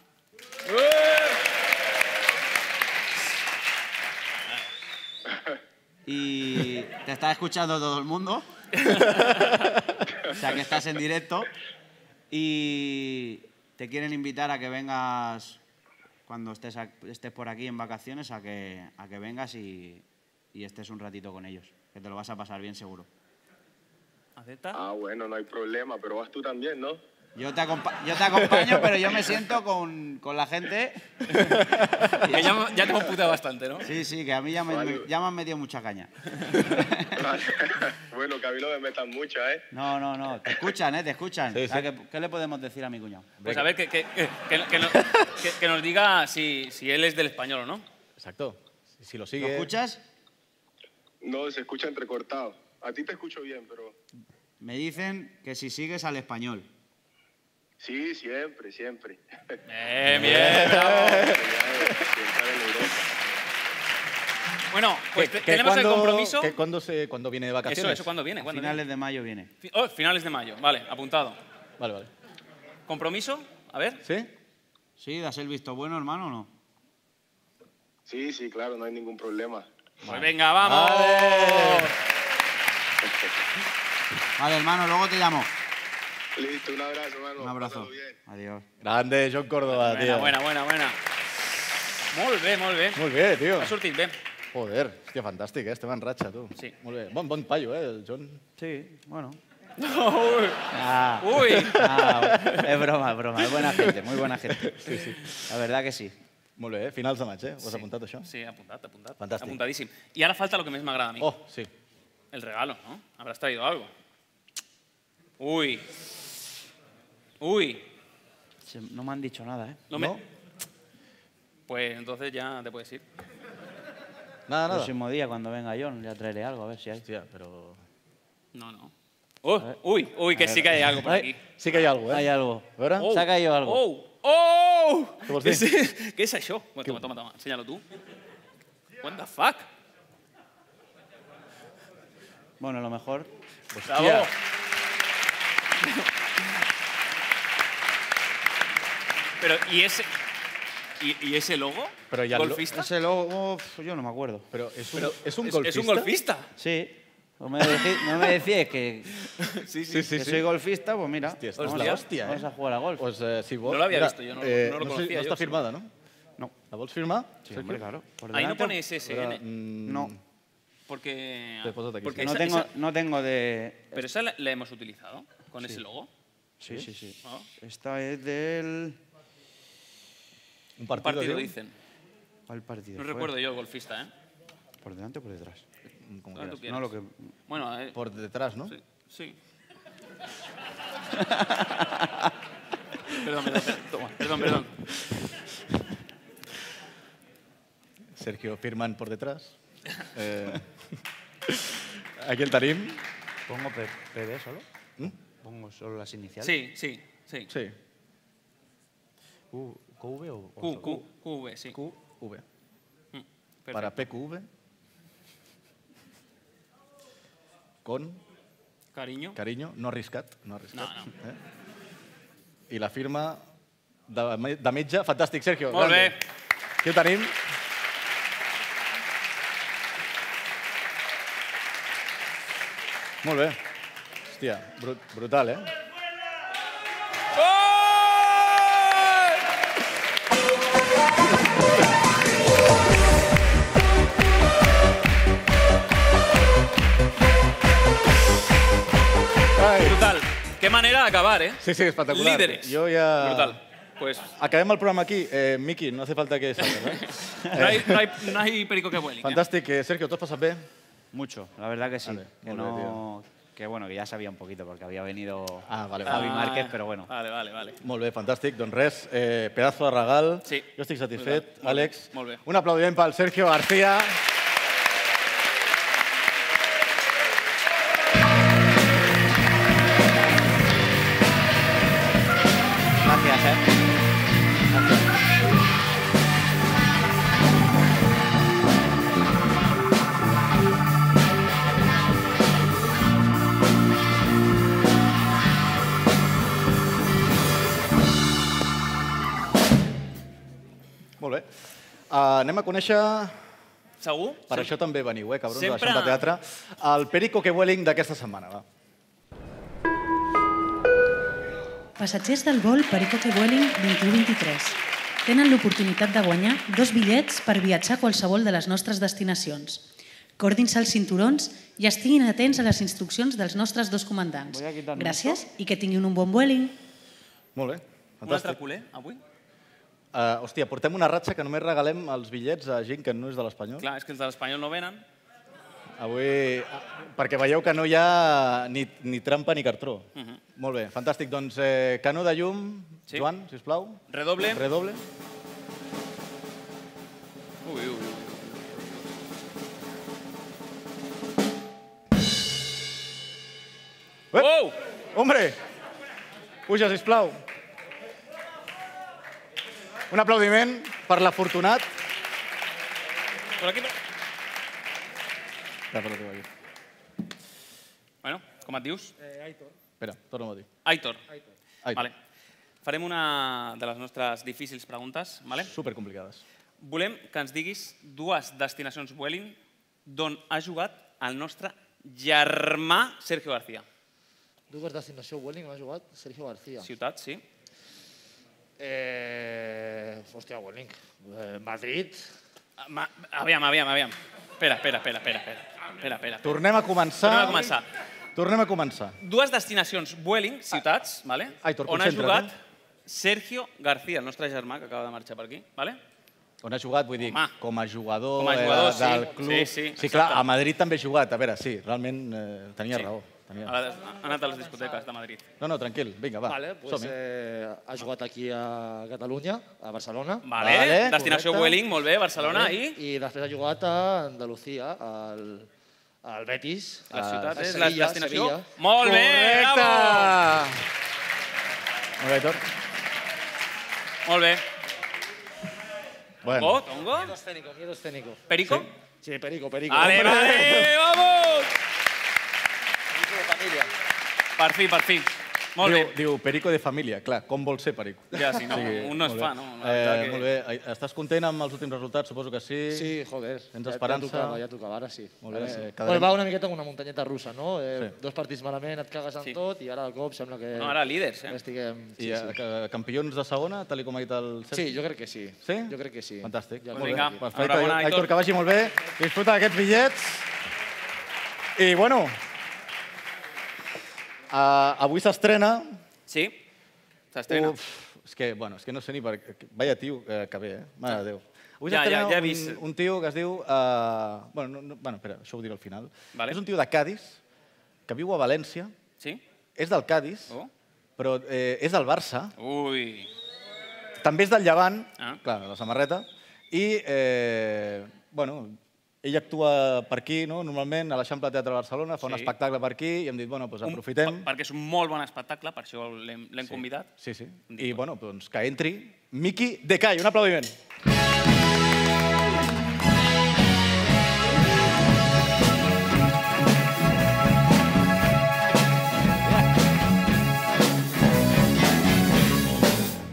Y te está escuchando todo el mundo. o sea que estás en directo. Y te quieren invitar a que vengas cuando estés, ac- estés por aquí en vacaciones, a que, a que vengas y, y estés un ratito con ellos. Que te lo vas a pasar bien seguro.
¿Acepta?
Ah, bueno, no hay problema, pero vas tú también, ¿no?
Yo te, acompa- yo te acompaño, pero yo me siento con, con la gente.
Que ya, ya te hemos puteado bastante, ¿no?
Sí, sí, que a mí ya me,
Vale.
ya me han metido mucha caña.
Vale. bueno, que a mí no me metan mucha, ¿eh?
No, no, no. Te escuchan, ¿eh? Te escuchan.
Sí,
O sea,
sí.
¿qué, qué le podemos decir a mi cuñado?
Pues a ver, que, que, que, que- que no- que- que nos diga si, si él es del español o no.
Exacto. Si, si lo
¿Lo
sigue...
escuchas?
No, se escucha entrecortado. A ti te escucho bien, pero...
Me dicen que si sigues al español.
Sí, siempre, siempre.
Bien, bien, bravo.
Siempre en Europa.
Bueno, pues te- tenemos
cuándo-
el compromiso.
Que cuando, se, cuando viene de
Eso,
vacaciones.
eso, ¿cuándo viene?
A
¿Cuándo
finales de mayo viene.
viene? Fi- oh, finales de mayo, vale, apuntado.
Vale, vale.
¿Compromiso? A ver.
¿Sí?
¿Sí? ¿Das el visto bueno, hermano, o no?
Sí, sí, claro, no hay ningún problema.
Pues venga, vamos.
Oh.
Vale, hermano, luego te llamo.
Listo, un abrazo, hermano.
Un abrazo.
Pásalo bien.
Adiós.
Grande, John Córdoba,
Buena,
tío.
buena, buena, buena. Molt bé, molt bé.
Molt bé, tio.
Ha sortit bé.
Joder, hòstia, fantàstic, eh? Estem en ratxa, tu.
Sí.
Molt bé. Bon, bon paio, eh, el John.
Sí, bueno.
Uy.
Ah,
Uy.
ah, es broma, es broma. Es buena gente, muy buena gente. La verdad que sí.
Molt bé, eh? finals de maig, eh? Ho has apuntat, això?
Sí, apuntat, apuntat.
Fantàstic.
Oh.
Apuntadíssim. I ara falta el que més m'agrada a mi.
Oh, sí.
El regalo, ¿no? Habrás traído algo. Uy. Uy.
Se- No me han dicho nada, ¿eh?
No me- Pues entonces ya te puedes ir.
Nada,
El
nada.
próximo día, cuando venga John, ya traeré algo, a ver si hay.
Hòstia, però...
No, no. Uy, uy, uy, que sí que hay algo por
Ay,
aquí.
Sí que hi ha alguna cosa,
Hay
eh?
algo.
A veure.
Oh,
Saca yo algo.
Oh, oh.
Què vols
¿Qué
dir?
es, ¿Qué es eso? Bueno, toma, toma, toma. Enséñalo tú. What the fuck?
Bueno, a lo mejor.
Bravo. Pero, ¿y ese, y, y ese logo?
Pero ya lo-
¿Golfista?
Ese logo, uf, Pues yo no me acuerdo.
Però és un, és un
Es-
golfista?
Es un golfista.
Sí. No me decís, no me decís que,
Sí, sí.
que soy golfista, pues mira.
Hòstia, és
vamos,
la
a,
hòstia, eh?
vamos a jugar a golf.
Pues, eh, si vols,
No lo había visto yo, no lo- no lo
sé-
conocía
No
yo,
está
sí.
firmada, ¿no?
No.
¿La vols firmar?
Sí, hombre, claro. Por
Ahí no
delante.
pone SSN.
Mm,
No,
Porque.
Te puedo aquí,
porque
sí.
no
esa-
tengo,
esa-
no tengo de.
pero esa la, la hemos utilizado con ese logo.
Sí, sí, sí.
Ah.
Esta es del.
Un
Un
partido dicen.
¿Cuál partido?
No
fue?
recuerdo yo el golfista, ¿eh?
¿Por delante o por detrás?
Como
Ah, tú quieras.
quieras.
No, lo que.
Bueno, a ver,
Por detrás, ¿no?
Sí. sí. perdón, perdón, perdón. Perdón, perdón.
Sergio, firman por detrás. Eh, aquí el tarim. ¿Mm?
¿Pongo P- PB solo? ¿Pongo solo las iniciales?
Sí, sí, sí.
Sí.
Q- ¿QV o.? o
Q,
solo?
Q, QV, sí.
QV.
Mm, perfecto.
Para PQV. Con
Cariño.
cariño, no arriscat. No arriscat.
No,
no. Eh? I la firma de, me- de metge. Fantàstic, Sergio.
Molt bé.
grande. Aquí el tenim. Molt bé. Hòstia, brut, brutal, eh?
¡Gol!
Ai.
Brutal. Qué manera de acabar, ¿eh?
Sí, sí, espectacular.
Líderes.
Jo ja...
Brutal. Pues
Acabem el programa aquí. Eh, Miki, no hace falta que salgas, eh?
no hay, no hay, no hay perico que vuele.
Fantàstic. Eh, Sergio, t'ho has passat bé?
Mucho, la verdad que sí.
Vale,
que
muy bien,
no. que bueno, que ya sabía un poquito porque había venido
Ah, vale,
Javi
vale.
Márquez, pero bueno.
Vale, vale, vale.
Molt bé, fantàstic. Doncs res, eh, pedazo de regal.
Sí.
Jo estic satisfet.
Molt bé,
Àlex,
molt bé.
un aplaudiment pel Sergio García.
Gracias, eh.
Molt bé. Uh, anem a conèixer...
¿Sagú?
Per això també veniu, eh, cabrons, Sempre...
Sempre-
de teatre. El Perico que Welling d'aquesta setmana, va.
Passatgers del vol Perico que Vueling 2123 tenen l'oportunitat de guanyar dos bitllets per viatjar a qualsevol de les nostres destinacions. Cordin-se els cinturons i estiguin atents a les instruccions dels nostres dos comandants.
Voy a quitarme
Gràcies i que tinguin un bon vueling.
Molt bé.
Un altre
Fantàstic.
culer, avui?
Uh, hòstia, portem una ratxa que només regalem els bitllets a gent que no és de l'Espanyol.
Clar, és que els de l'Espanyol no venen.
Avui, ah, perquè veieu que no hi ha ni, ni trampa ni cartró. Uh -huh. Molt bé, fantàstic. Doncs eh, canó de llum,
Mhm. Sí.
sí. Joan, sisplau.
Redoble.
Redoble.
Ui, ui, ui.
Uep!
Wow!
Hombre, puja, sisplau. Un aplaudiment per l'afortunat.
Por aquí... per-
Espera, espera, que ho vegi.
Bueno, com et dius?
Eh. Espera, torna a dir.
Aitor.
Ai,
Vale. Farem una de les nostres difícils preguntes. Vale?
supercomplicades.
Volem que ens diguis dues destinacions Vueling d'on ha jugat el nostre germà Sergio García.
Dues destinació Welling m'ha jugat Sergio García. Sí.
Ciutat, sí.
Eh, hòstia, Welling. Eh, Madrid.
Ah, Ma, aviam, aviam, aviam. Espera, espera, espera, espera. espera, espera, espera.
Tornem a començar.
Tornem a començar.
Tornem a començar.
Dues destinacions Vueling, ciutats, vale?
Aitor,
on ha jugat
concentra't,
Sergio García, el nostre germà que acaba de marxar per aquí. Vale?
On ha jugat, vull dir,
Home.
com a jugador,
Com a jugador,
eh, del
sí.
club.
Sí, sí,
sí clar,
exacte.
a Madrid també ha jugat. A veure, sí, realment eh, tenia
Sí.
raó. Tenia...
Ara ha anat a les discoteques de Madrid.
No, no, tranquil, vinga, va,
Vale, pues,
som-hi.
eh, ha jugat aquí a Catalunya, a Barcelona.
Vale, vale destinació
correcte.
Welling, molt bé, Barcelona
Vale.
i...
I després ha jugat a Andalucía, al, al Betis.
La
a-
ciutat
a
és la
Ah, Sevilla,
destinació.
Sevilla.
Molt bé, bravo!
Molt bé, Aitor.
Molt bé.
Bueno.
Tongo, Tongo?
Miedos escénicos, miedos escénicos.
Perico?
Sí, sí, Perico, Perico.
Vale,
Hombre.
vale, vamos!
Perico de familia.
Per fi, per fi. Molt
diu,
bé.
diu perico de família, clar, com vol ser perico?
Ja, sí, no,
O sigui,
un no es
molt
fa,
bé.
no, la
Eh,
veritat que-
Molt bé, Ai, estàs content amb els últims resultats? Suposo que sí.
Sí, joder.
Tens
ja-
esperança?
Ja tocava, ja tocava, ara sí.
Molt bé,
Ara
sí.
sí.
Quedarem-
Bueno, va una miqueta com una muntanyeta russa, no? Eh,
Sí.
Dos partits malament, et cagues en
Sí.
tot i ara de cop sembla que...
No, ara líders, eh?
Este.
que Estiguem...
I eh, ca- campions de segona, tal i com ha dit el Sergi?
Sí, jo crec que sí.
Sí?
Jo crec que sí.
Fantàstic.
Ja
Molt bé.
vinga,
Perfecte.
enhorabona,
Aitor.
Aitor.
que vagi molt bé. Disfruta d'aquests bitllets. I, bueno, uh, avui s'estrena...
Sí? S'estrena.
Uf, és que, bueno, és que no sé ni per... què- Vaya tio eh, que ve, eh? Mare de Déu. Avui
Ja,
s'estrena
ja, ja he
un-
vist.
un, tio que es diu... Uh, bueno, no, no, bueno, espera, això ho diré al final.
Vale.
És un tio de Cádiz, que viu a València,
Sí?
és del Cádiz,
Oh.
però eh, és del Barça,
Ui.
també és del Llevant,
Ah.
clar, la samarreta, i, eh, bueno, ell actua per aquí, no? normalment, a l'Eixample Teatre de Barcelona, fa un
Sí.
espectacle per aquí, i hem dit, bueno, doncs
Un-
aprofitem.
per- Perquè és un molt bon espectacle, per això l'hem l'hem convidat.
Sí, sí.
Hem dit,
I, bueno, doncs que entri Miqui de Cai. Un aplaudiment.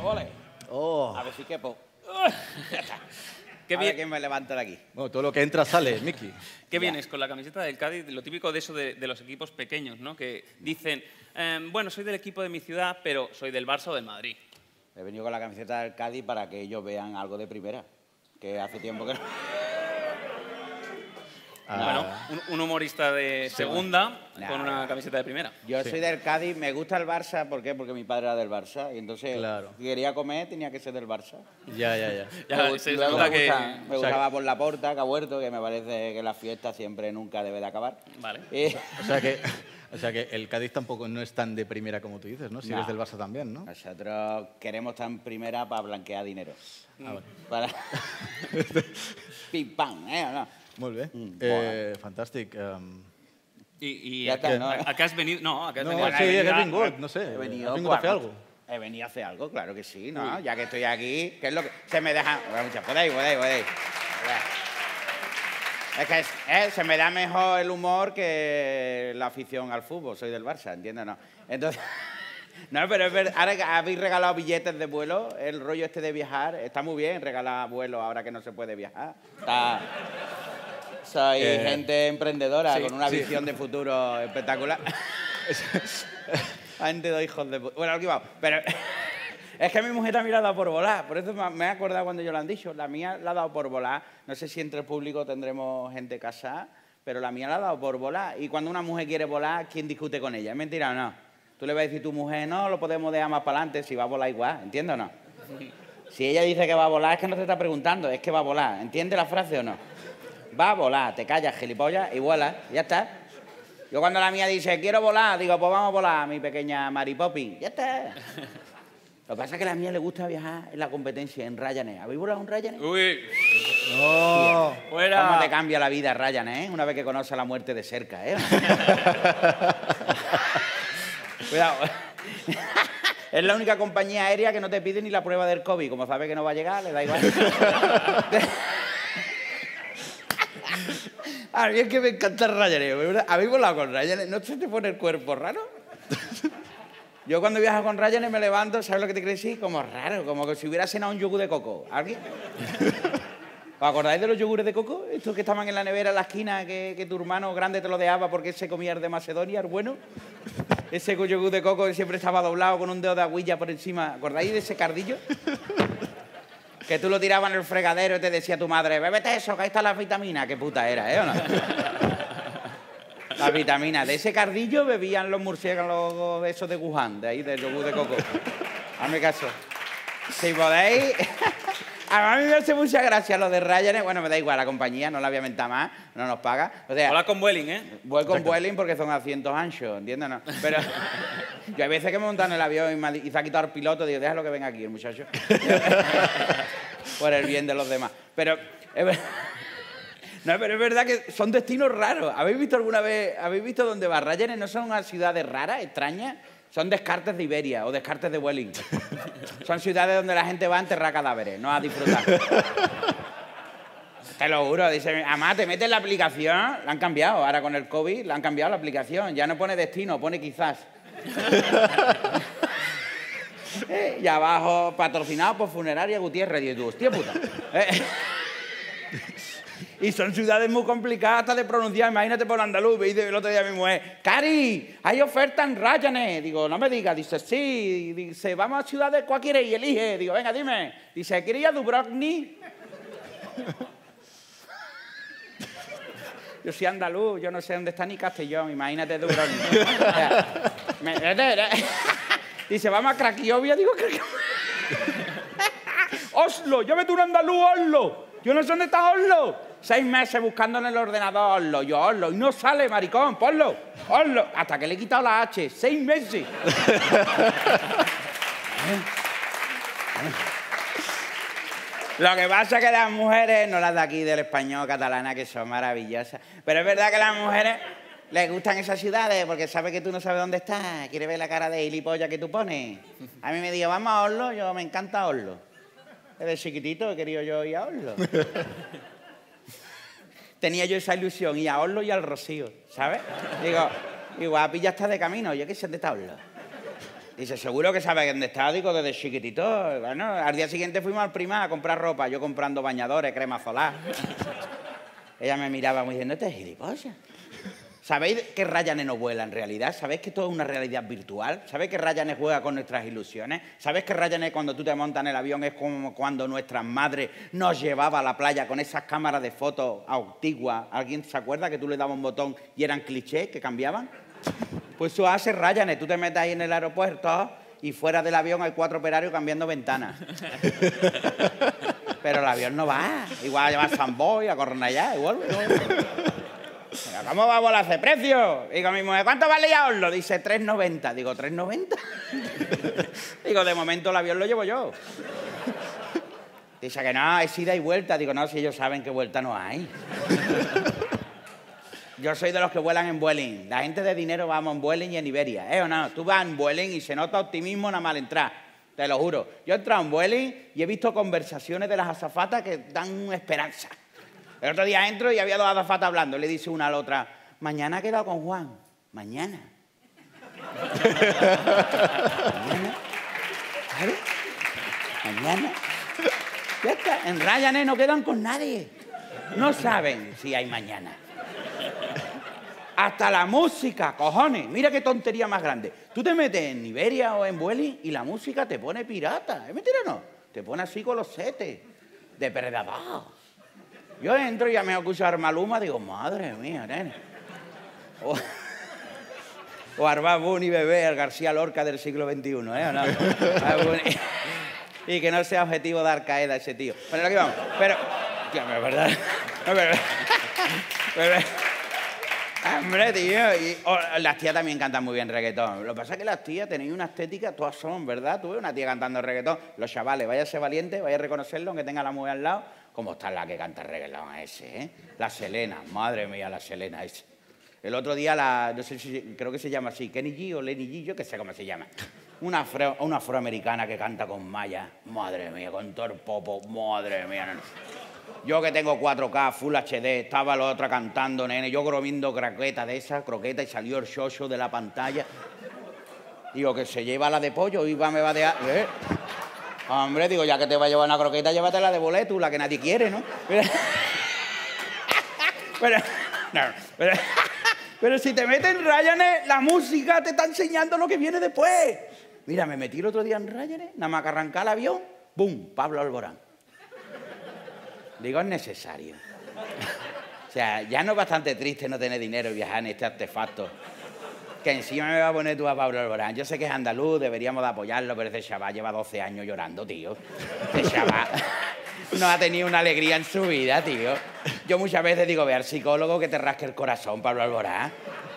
Ole.
Oh.
A ver si quepo.
Qué
Qué
bien.
bien. que me levanta de aquí.
Bueno, todo lo que entra sale, Miqui.
¿Qué vienes con la camiseta del Cádiz? Lo típico de eso de, de los equipos pequeños, ¿no? Que dicen, ehm, bueno, soy del equipo de mi ciudad, pero soy del Barça o del Madrid.
He venido con la camiseta del Cádiz para que ellos vean algo de primera. Que hace tiempo que no.
Ah.
Bueno, un, un humorista de segunda
bueno.
con
Nah.
una camiseta de primera.
Yo
Sí.
soy del Cádiz, me gusta el Barça, ¿por qué? Porque mi padre era del Barça. Y entonces,
Claro.
si quería comer, tenía que ser del Barça.
Ja, ja, ja.
Ya,
gu-
se
luego
nota
me,
que...
gusta- me
sea,
gustaba por la puerta, que ha vuelto, que me parece que la fiesta siempre nunca debe de acabar.
Vale.
Eh,
O sea que... O sea que el Cádiz tampoco no es tan de primera como tú dices, ¿no? Si
No.
eres del Barça también, ¿no?
Nosotros queremos estar en primera para blanquear dinero.
Ah,
Para... Pim, pam, ¿eh? ¿O no?
Molt bé.
Mm,
Eh, fantàstic. Um,
Y, y
Ya
a,
está,
qué-
¿no?
a qué has venido? No, a qué has
no,
venido.
sí,
Ah,
has
ah,
vingut, no sé.
He
Has
venido,
vingut a fer
guapo.
alguna cosa.
He venido a hacer algo, claro que sí, ¿no? Ya que estoy aquí, ¿qué es lo que...? Se me deja... Bueno, muchas- Podéis, podéis, podéis. Es que es- eh, se me da mejor el humor que la afición al fútbol. Soy del Barça, ¿entiendes? No. Entonces... No, pero es verdad, ahora que habéis regalado billetes de vuelo, el rollo este de viajar, está muy bien regalar vuelo ahora que no se puede viajar. Está- Soy
Eh,
gente emprendedora
sí,
con una
sí.
visión de futuro espectacular. Antes dos hijos de... pu- Bueno, aquí vamos. Pero es que mi mujer también la ha dado por volar. Por eso me me he acordado cuando yo lo han dicho. La mía la ha dado por volar. No sé si entre el público tendremos gente casada, pero la mía la ha dado por volar. Y cuando una mujer quiere volar, ¿quién discute con ella? ¿Es mentira o no? Tú le vas a decir a tu mujer, no, lo podemos dejar más para adelante si va a volar igual. ¿Entiendes o no? Si ella dice que va a volar, es que no te está preguntando, es que va a volar. ¿Entiendes la frase o no? Va a volar, te callas, gilipollas, y vuelas, y ya está. Yo cuando la mía dice, quiero volar, digo, pues vamos a volar, mi pequeña Mary Poppins, ya está. Lo que pasa es que a la mía le gusta viajar en la competencia, en Ryanair. ¿Habéis volado en Ryanair?
Uy,
No.
fuera.
¿Cómo te cambia la vida Ryanair, eh? Una vez que conoces la muerte de cerca, eh? Cuidado. Es la única compañía aérea que no te pide ni la prueba del COVID. Como sabe que no va a llegar, le da igual. a mí es que me encanta Ryanair. ¿verdad? ¿Habéis volado con Ryanair? ¿No se te pone el cuerpo raro? Yo cuando viajo con Ryanair me levanto, ¿sabes lo que te quiero decir? Como raro, como que si hubiera cenado un yogur de coco. ¿Alguien? ¿Os acordáis de los yogures de coco? Estos que estaban en la nevera en la esquina, que, que tu hermano grande te lo dejaba porque él se comía el de Macedonia, el bueno. Ese yogur de coco que siempre estaba doblado con un dedo de aguilla por encima. ¿Acordáis de ese cardillo? Que tú lo tirabas en el fregadero y te decía tu madre, bébete eso, que ahí está las vitaminas. Qué puta era, ¿eh? ¿O no? Las vitaminas. De ese cardillo bebían los murciélagos de esos de Wuhan, de ahí, del yogur de coco. Hazme caso. Si podéis, a mí me hace mucha gracia lo de Ryanair. Bueno, me da igual, la compañía no la voy a mentar más, no nos paga. O sea,
Hola con Vueling, ¿eh?
Voy con Vueling porque son asientos anchos, ¿entiendes? No? Pero yo hay veces que me montan en el avión y, me, ha di- y se ha quitado el piloto, digo, déjalo que venga aquí el muchacho. Por el bien de los demás. Pero es ver- no, pero es verdad que son destinos raros. ¿Habéis visto alguna vez, habéis visto dónde va Ryanair? ¿No son unas ciudades raras, extrañas? Son descartes de Iberia o descartes de Welling. son ciudades donde la gente va a enterrar cadáveres, no a disfrutar. Te lo juro, dice, además te metes en la aplicación, la han cambiado, ahora con el COVID, la han cambiado la aplicación, ya no pone destino, pone quizás. Eh, y abajo, patrocinado por Funeraria Gutiérrez, y tú, hostia puta. Eh. Y son ciudades muy complicadas hasta de pronunciar. Imagínate por andaluz. Me dice el otro día mi mujer, Cari, hay oferta en Ryanair. Digo, no me digas. Dice, sí. Dice, vamos a ciudades, ¿cuál quieres? Y elige. Digo, venga, dime. Dice, ¿quieres ir a Dubrovnik? Yo soy andaluz, yo no sé dónde está ni Castellón. Imagínate Dubrovnik. O sea, me- Dice, vamos a Cracovia. Digo, Cracovia. Oslo, yo tú un andaluz Oslo. Yo no sé dónde está Oslo. Seis meses buscando en el ordenador Oslo, yo Oslo, y no sale, maricón, ponlo, Oslo, hasta que le he quitado la H, seis meses. Lo que pasa es que las mujeres, no las de aquí del español catalana, que son maravillosas, pero es verdad que las mujeres les gustan esas ciudades porque sabe que tú no sabes dónde estás, quiere ver la cara de gilipollas que tú pones. A mí me dijo, vamos a Oslo, yo me encanta Oslo. Desde chiquitito he querido yo ir a Oslo. Tenía yo esa ilusión, ir a Oslo y al Rocío, ¿sabes? Digo, igual ya está de camino, yo que sé dónde está Oslo. Dice, seguro que sabe dónde está, digo, desde chiquitito. Bueno, al día siguiente fuimos al prima a comprar ropa, yo comprando bañadores, crema solar. Ella me miraba muy diciendo, este es gilipollas. ¿Sabéis que Ryanair no vuela en realidad? ¿Sabéis que todo es una realidad virtual? ¿Sabéis que Ryanair juega con nuestras ilusiones? ¿Sabéis que Ryanair cuando tú te montas en el avión es como cuando nuestras madres nos llevaba a la playa con esas cámaras de fotos antiguas? ¿Alguien se acuerda que tú le dabas un botón y eran clichés que cambiaban? Pues eso hace Ryanair. Tú te metes ahí en el aeropuerto y fuera del avión hay cuatro operarios cambiando ventanas. Pero el avión no va. Igual va a San Boy, a Cornellá, igual. Pero ¿cómo va a volar ese precio? Digo a mi mujer, ¿cuánto vale a Oslo? Dice, 3,90. Digo, ¿3,90? Digo, de momento el avión lo llevo yo. Dice que no, es ida y vuelta. Digo, no, si ellos saben que vuelta no hay. Yo soy de los que vuelan en Vueling. La gente de dinero vamos en Vueling y en Iberia. ¿Eh o no? Tú vas en Vueling y se nota optimismo nada mal entrar. Te lo juro. Yo he entrado en Vueling y he visto conversaciones de las azafatas que dan esperanza. El otro día entro y había dos azafatas hablando. Le dice una a la otra, mañana he quedado con Juan. Mañana. mañana. Claro. Mañana. Ya está. En Ryanair no quedan con nadie. No saben si hay mañana. Hasta la música, cojones. Mira qué tontería más grande. Tú te metes en Iberia o en Vueling y la música te pone pirata. ¿Es mentira o no? Te pone así con los setes. Depredador. Yo entro y ya me escucho a Armaluma, digo, madre mía, nene. O, o Arbabun y Bebé, el García Lorca del siglo XXI, ¿eh? ¿O no? Arbabun y, y que no sea objetivo dar caída a ese tío. Bueno, aquí vamos. Pero, tío, pero es verdad. No, pero- pero- Hombre, tío, y o- las tías también cantan muy bien reggaetón. Lo que pasa es que las tías tenéis una estética, todas son, ¿verdad? Tú ves una tía cantando reggaetón. Los chavales, vaya a ser valiente, vaya a reconocerlo, aunque tenga la mujer al lado. ¿Cómo está la que canta reggaetón ese, eh? La Selena, madre mía, la Selena ese. El otro día, la, no sé si, creo que se llama así, Kenny G o Lenny G, yo que sé cómo se llama. Una, afro- una afroamericana que canta con malla, madre mía, con todo el popo, madre mía. no, no. Yo que tengo 4K, Full HD, estaba la otra cantando, nene, yo comiendo croqueta de esa, croqueta, y salió el xoxo de la pantalla. Digo, que se lleva la de pollo y va, me va a dejar... ¿eh? Hombre, digo, ya que te va a llevar una croqueta, llévate la de boleto, la que nadie quiere, ¿no? Pero, pero, no, pero- pero si te metes en Ryanair, la música te está enseñando lo que viene después. Mira, me metí el otro día en Ryanair, nada más que arrancar el avión, ¡bum! Pablo Alborán. Digo, es necesario. O sea, ya no es bastante triste no tener dinero y viajar en este artefacto. Que encima me va a poner tú a Pablo Alborán. Yo sé que es andaluz, deberíamos de apoyarlo, pero ese chaval lleva 12 años llorando, tío. Ese chaval. no ha tenido una alegría en su vida, tío. Yo muchas veces digo, ve al psicólogo que te rasque el corazón, Pablo Alborán.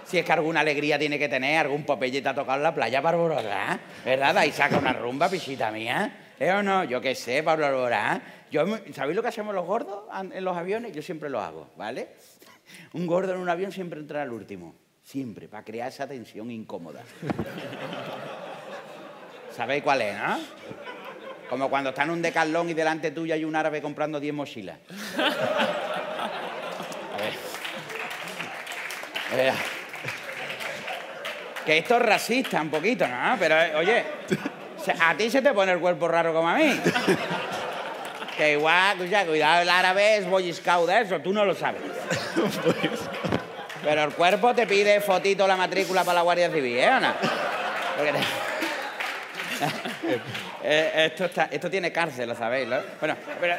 Si es que alguna alegría tiene que tener, algún popeye te ha tocado en la playa, Pablo Alborán. ¿Verdad? Ahí saca una rumba, pichita mía. ¿Eh o no? Yo qué sé, Pablo Alborán. Yo, ¿Sabéis lo que hacemos los gordos en los aviones? Yo siempre lo hago, ¿vale? Un gordo en un avión siempre entra al último. Siempre, para crear esa tensión incómoda. ¿Sabéis cuál es, no? Como cuando está en un decalón y delante tuyo hay un árabe comprando 10 mochilas. A ver. A ver. Eh, Que esto es racista un poquito, ¿no? Pero, eh, oye, a ti se te pone el cuerpo raro como a mí. Que igual, o sea, cuidado, el árabe es boy scout de eso, tú no lo sabes. Pero el cuerpo te pide fotito la matrícula para la Guardia Civil, ¿eh, Ana? Te... eh, esto, está, esto tiene cárcel, lo sabéis, ¿no? Bueno, pero...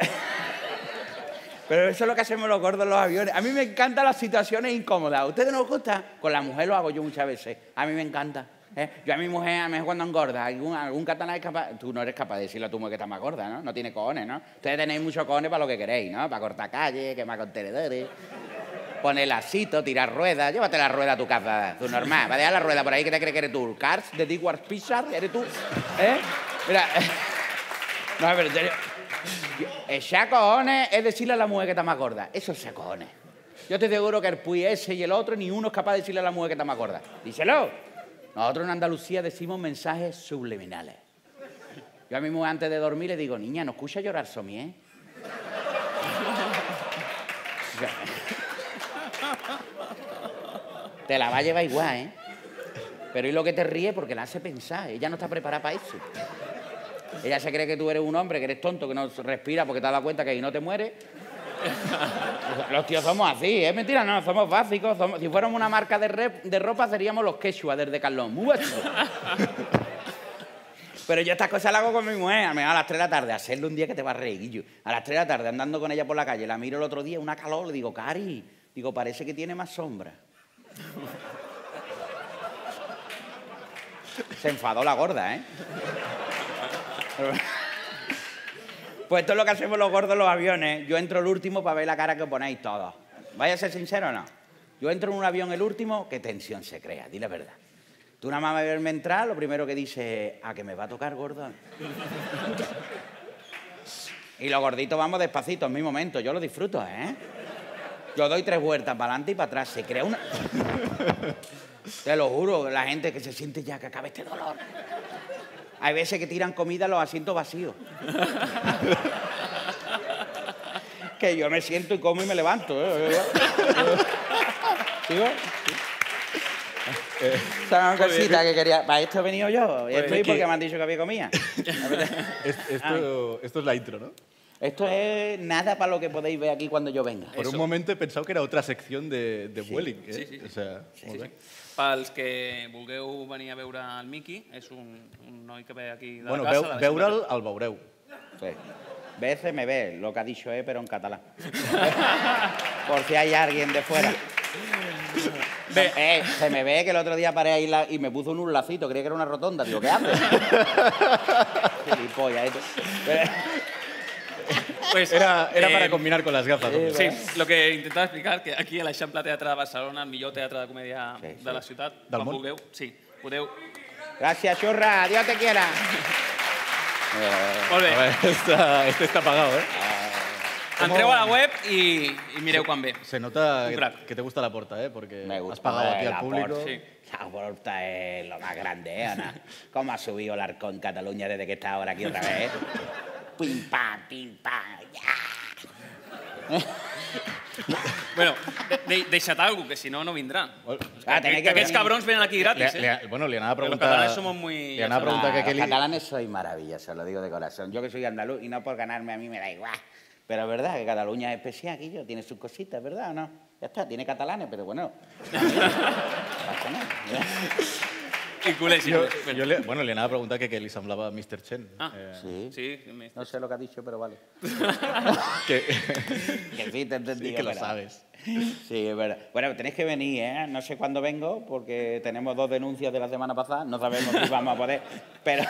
pero eso es lo que hacemos los gordos en los aviones. A mí me encantan las situaciones incómodas. ¿A ustedes no les gusta? Con la mujer lo hago yo muchas veces. A mí me encanta. ¿Eh? Yo a mi mujer, a mí cuando engorda, algún, algún catalán es capaz... Tú no eres capaz de decirle a tu mujer que está más gorda, ¿no? No tiene cojones, ¿no? Ustedes tenéis muchos cojones para lo que queréis, ¿no? Para cortar calle, quemar contenedores, poner lacito, tirar ruedas. Llévate la rueda a tu casa, tú normal. Va a dejar la rueda por ahí que te crees que eres tú. ¿El Cars de Diguar Pizarre? ¿Eres tú? ¿Eh? Mira... No, pero en serio... Echar cojones es decirle a la mujer que está más gorda. Eso es echar cojones. Yo te seguro que el Puy ese y el otro, ni uno es capaz de decirle a la mujer que está más gorda. Díselo. Nosotros en Andalucía decimos mensajes subliminales. Yo a mi mujer antes de dormir le digo, niña, no escucha llorar ¿eh?". Somier. te la va a llevar igual, ¿eh? Pero y lo que te ríe porque la hace pensar. Ella no está preparada para eso. Ella se cree que tú eres un hombre, que eres tonto, que no respira porque te has dado cuenta que ahí no te mueres. Los tíos somos así, es ¿eh? mentira, no, somos básicos. Somos... Si fuéramos una marca de, rep, de ropa seríamos los quechua desde Carlón. Muy Pero yo estas cosas las hago con mi mujer, a, mí, a las 3 de la tarde, hacerle un día que te va a reír, Guillo. A las 3 de la tarde andando con ella por la calle, la miro el otro día, una calor, le digo, Cari, digo, parece que tiene más sombra. Se enfadó la gorda, ¿eh? Pues esto es lo que hacemos los gordos en los aviones. Yo entro el último para ver la cara que ponéis todos. Vaya a ser sincero o no. Yo entro en un avión el último, qué tensión se crea, di la verdad. Tú nada más verme entrar, lo primero que dices, a que me va a tocar gordo. y los gorditos vamos despacito, en mi momento, yo lo disfruto, ¿eh? Yo doy tres vueltas para adelante y para atrás, se crea una... Te lo juro, la gente que se siente ya que acaba este dolor. Hay veces que tiran comida a los asientos vacíos. que yo me siento y como y me levanto. ¿eh? ¿Sigo? Esa una cosita que quería. Para esto he venido yo. Y estoy porque me han dicho que había comida.
Es-
Ah.
esto, esto es la intro, ¿no?
Esto es nada para lo que podéis ver aquí cuando yo venga.
Por un moment he pensat que era otra sección de, de Vueling. Eh?
Sí, sí, sí.
O sea,
Sí,
molt
sí.
bé.
Pels que vulgueu venir a veure el Miki, és un, un noi que ve aquí de
Bueno,
la casa.
veu,
de la
veure'l el veureu.
Sí. Veces me ve lo que ha dicho es, pero en catalán. Por si hay alguien de fuera.
Ve.
Eh, se me ve que el otro día paré ahí la- y me puso un lacito, creía que era una rotonda. Digo, ¿qué haces? Gilipollas, esto.
Pues,
Era, era
eh,
para combinar con las gafas. hombre.
Sí, lo que intentava explicar, que aquí a l'Eixample Teatre de Barcelona, el millor teatre de comèdia
Sí, sí.
de la ciutat,
Del
quan
món.
vulgueu, sí, podeu...
Gracias, churra. Dios te quiera.
Molt
A
bé,
ver, esta- este está pagado, ¿eh?
entreu a la web i, i mireu quan ve.
Se nota
Un
que,
crack.
que te gusta la porta, ¿eh? Porque
Me gusta.
has pagado aquí
eh,
al
la
público.
Porta, La Porta es lo más grande, ¿eh, Ana? ¿Cómo ha subido el arco en Cataluña desde que está ahora aquí otra vez? pim, pam, pim, pam, ya.
Bueno, de, de, deixa't alguna cosa, que si no, no vindrà.
Ah,
Que, que
tenés que
aquests
venir.
cabrons venen aquí gratis,
Le-
eh?
le- bueno, le han dado
Pero los
pregunta...
catalanes somos muy-
Le han dado
somos-
pregunta
Ah,
que
los
Kelly...
catalanes soy maravilloso, lo digo de corazón. Yo que soy andaluz y no por ganarme a mí me da igual. Pero es verdad que Cataluña es especial, Guillo, tiene sus cositas, ¿verdad o no? Ya está, tiene catalanes, pero bueno. Pasa nada.
I culers.
Yo, yo le, bueno, le han dado pregunta que Kelly semblava Mr. Chen.
Ah,
Eh,
Sí.
sí. me-
No sé lo que ha dicho, pero vale.
que,
Que sí, te entendí.
sí que lo
pero-
sabes.
Sí, es verdad. Bueno, tenéis que venir, ¿eh? No sé cuándo vengo, porque tenemos dos denuncias de la semana pasada, no sabemos si vamos a poder, pero...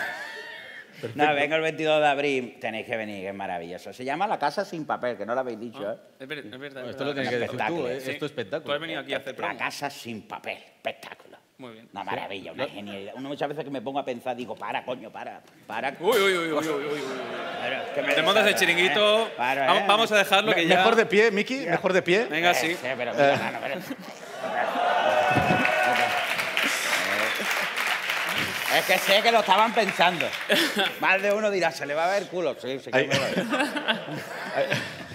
No, vengo el 22 de abril. Tenéis que venir, que es maravilloso. Se llama La Casa Sin Papel, que no lo habéis dicho,
Ah,
¿eh?
Es ver- es verdad. es verdad.
esto lo tienes que decir tú, ¿eh?
Sí.
Esto es espectáculo.
Tú has venido aquí a hacer
La
promo.
Casa Sin Papel, espectáculo.
Muy bien.
Una maravilla, una genialidad. Uno muchas veces que me pongo a pensar, digo, para, coño, para, para.
Uy, uy, uy, uy, uy, uy, uy. Te montas
¿eh?
el
eh.
chiringuito. Vamos- Vamos a dejarlo que ya...
Mejor de pie, Miki, mejor de pie.
Venga, sí.
pero,
Eh.
no, no, pero- Eh. Es que sé que lo estaban pensando. Más de uno dirá, se le va a ver el culo. Sí, sí que
Ahí.
me va a ver.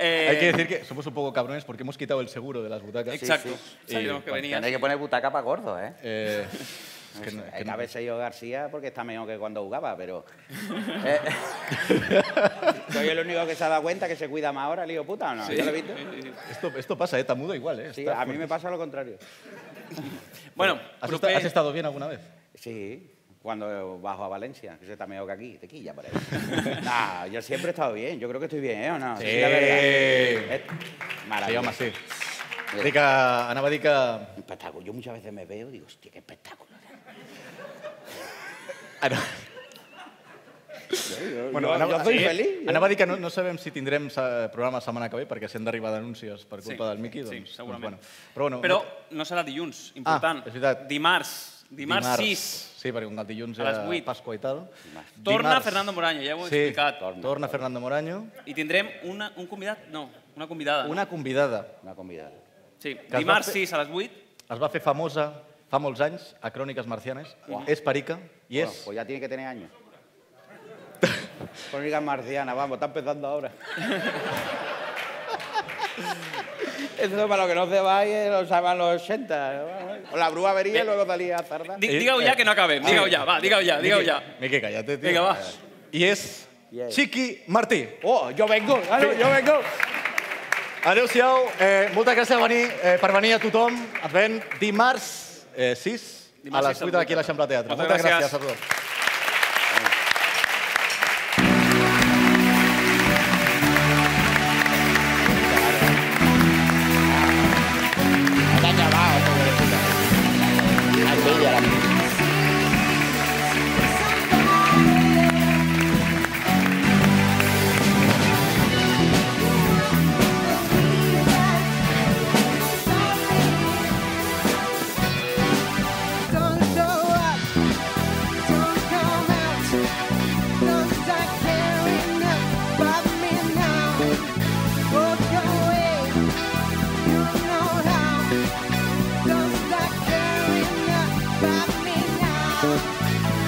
Eh,
Hay que decir que somos un poco cabrones porque hemos quitado el seguro de las butacas.
Exacto.
Y-
Sabíamos que venías.
Tenéis que poner butaca para gordo, ¿eh?
Eh, es que
Hay
no-
que
es que no-
a veces yo García porque está mejor que cuando jugaba, pero... Eh, soy el único que se ha dado cuenta que se cuida más ahora, el hijo puta, ¿o no?
Sí.
¿Ya lo he visto?
esto, esto pasa, ¿eh? Tamudo igual, ¿eh?
Sí,
Está
a mí
fuerte.
me pasa lo contrario.
Bueno,
¿Has,
Prope-
esta- has estado bien alguna vez?
Sí, cuando bajo a Valencia, que se está mejor que aquí, te quilla por ahí. nah, yo siempre he estado bien, yo creo que estoy bien, ¿eh? ¿O no?
Sí.
la verdad. Es
Se
Maravilla.
llama así. Dic que, anava a dir que...
Espectáculo. Yo muchas veces me veo y digo, hostia, qué espectáculo.
Ah, no. Bueno,
yo,
anava,
yo soy
eh,
feliz.
anava a dir que no, no sabem si tindrem sa- programa la setmana que ve perquè si han d'arribar denúncies per culpa
Sí,
del Miqui,
sí,
doncs,
segurament.
doncs bueno. Però, bueno,
Però
no-
no serà dilluns, important.
és veritat.
Dimarts. Dimarts 6.
Sí, perquè com que el dilluns
a les
era
vuit.
Pasqua i tal.
Torna
Dimarts.
Fernando Moraño, ja ho he
sí,
explicat.
Torna, torna Fernando Moraño.
I tindrem una, un convidat, no, una convidada.
Una convidada.
Una convidada.
Sí,
va
dimarts
fer-
6 a les 8.
Es va fer famosa fa molts anys a Cròniques Marcianes. És perica i
Bueno,
és...
pues ya tiene que tener años. Crónica marciana, vamos, está empezando ahora. Eso para lo que no se va eh, lo saben los 80. ¿no? O la brúa vería y luego salía a tardar.
Di- Digue-ho ja que no acabem. Digue-ho ja, va, digue-ho ja, digue-ho ja.
Miqui, callate, tio.
Vinga, va.
I és
Yeah.
Chiqui Martí.
Oh, yo vengo, claro, yo vengo.
Adéu-siau. Eh, moltes gràcies per venir, eh, per venir a tothom. Ens veiem dimarts eh, 6
Dimarts
a les
sis al
8 d'aquí a l'Eixample Teatre.
Moltes
Moltes,
gràcies.
gràcies a tothom.
Está llamado, pobrecita. Ay, mira, la
Don't stop caring about me now.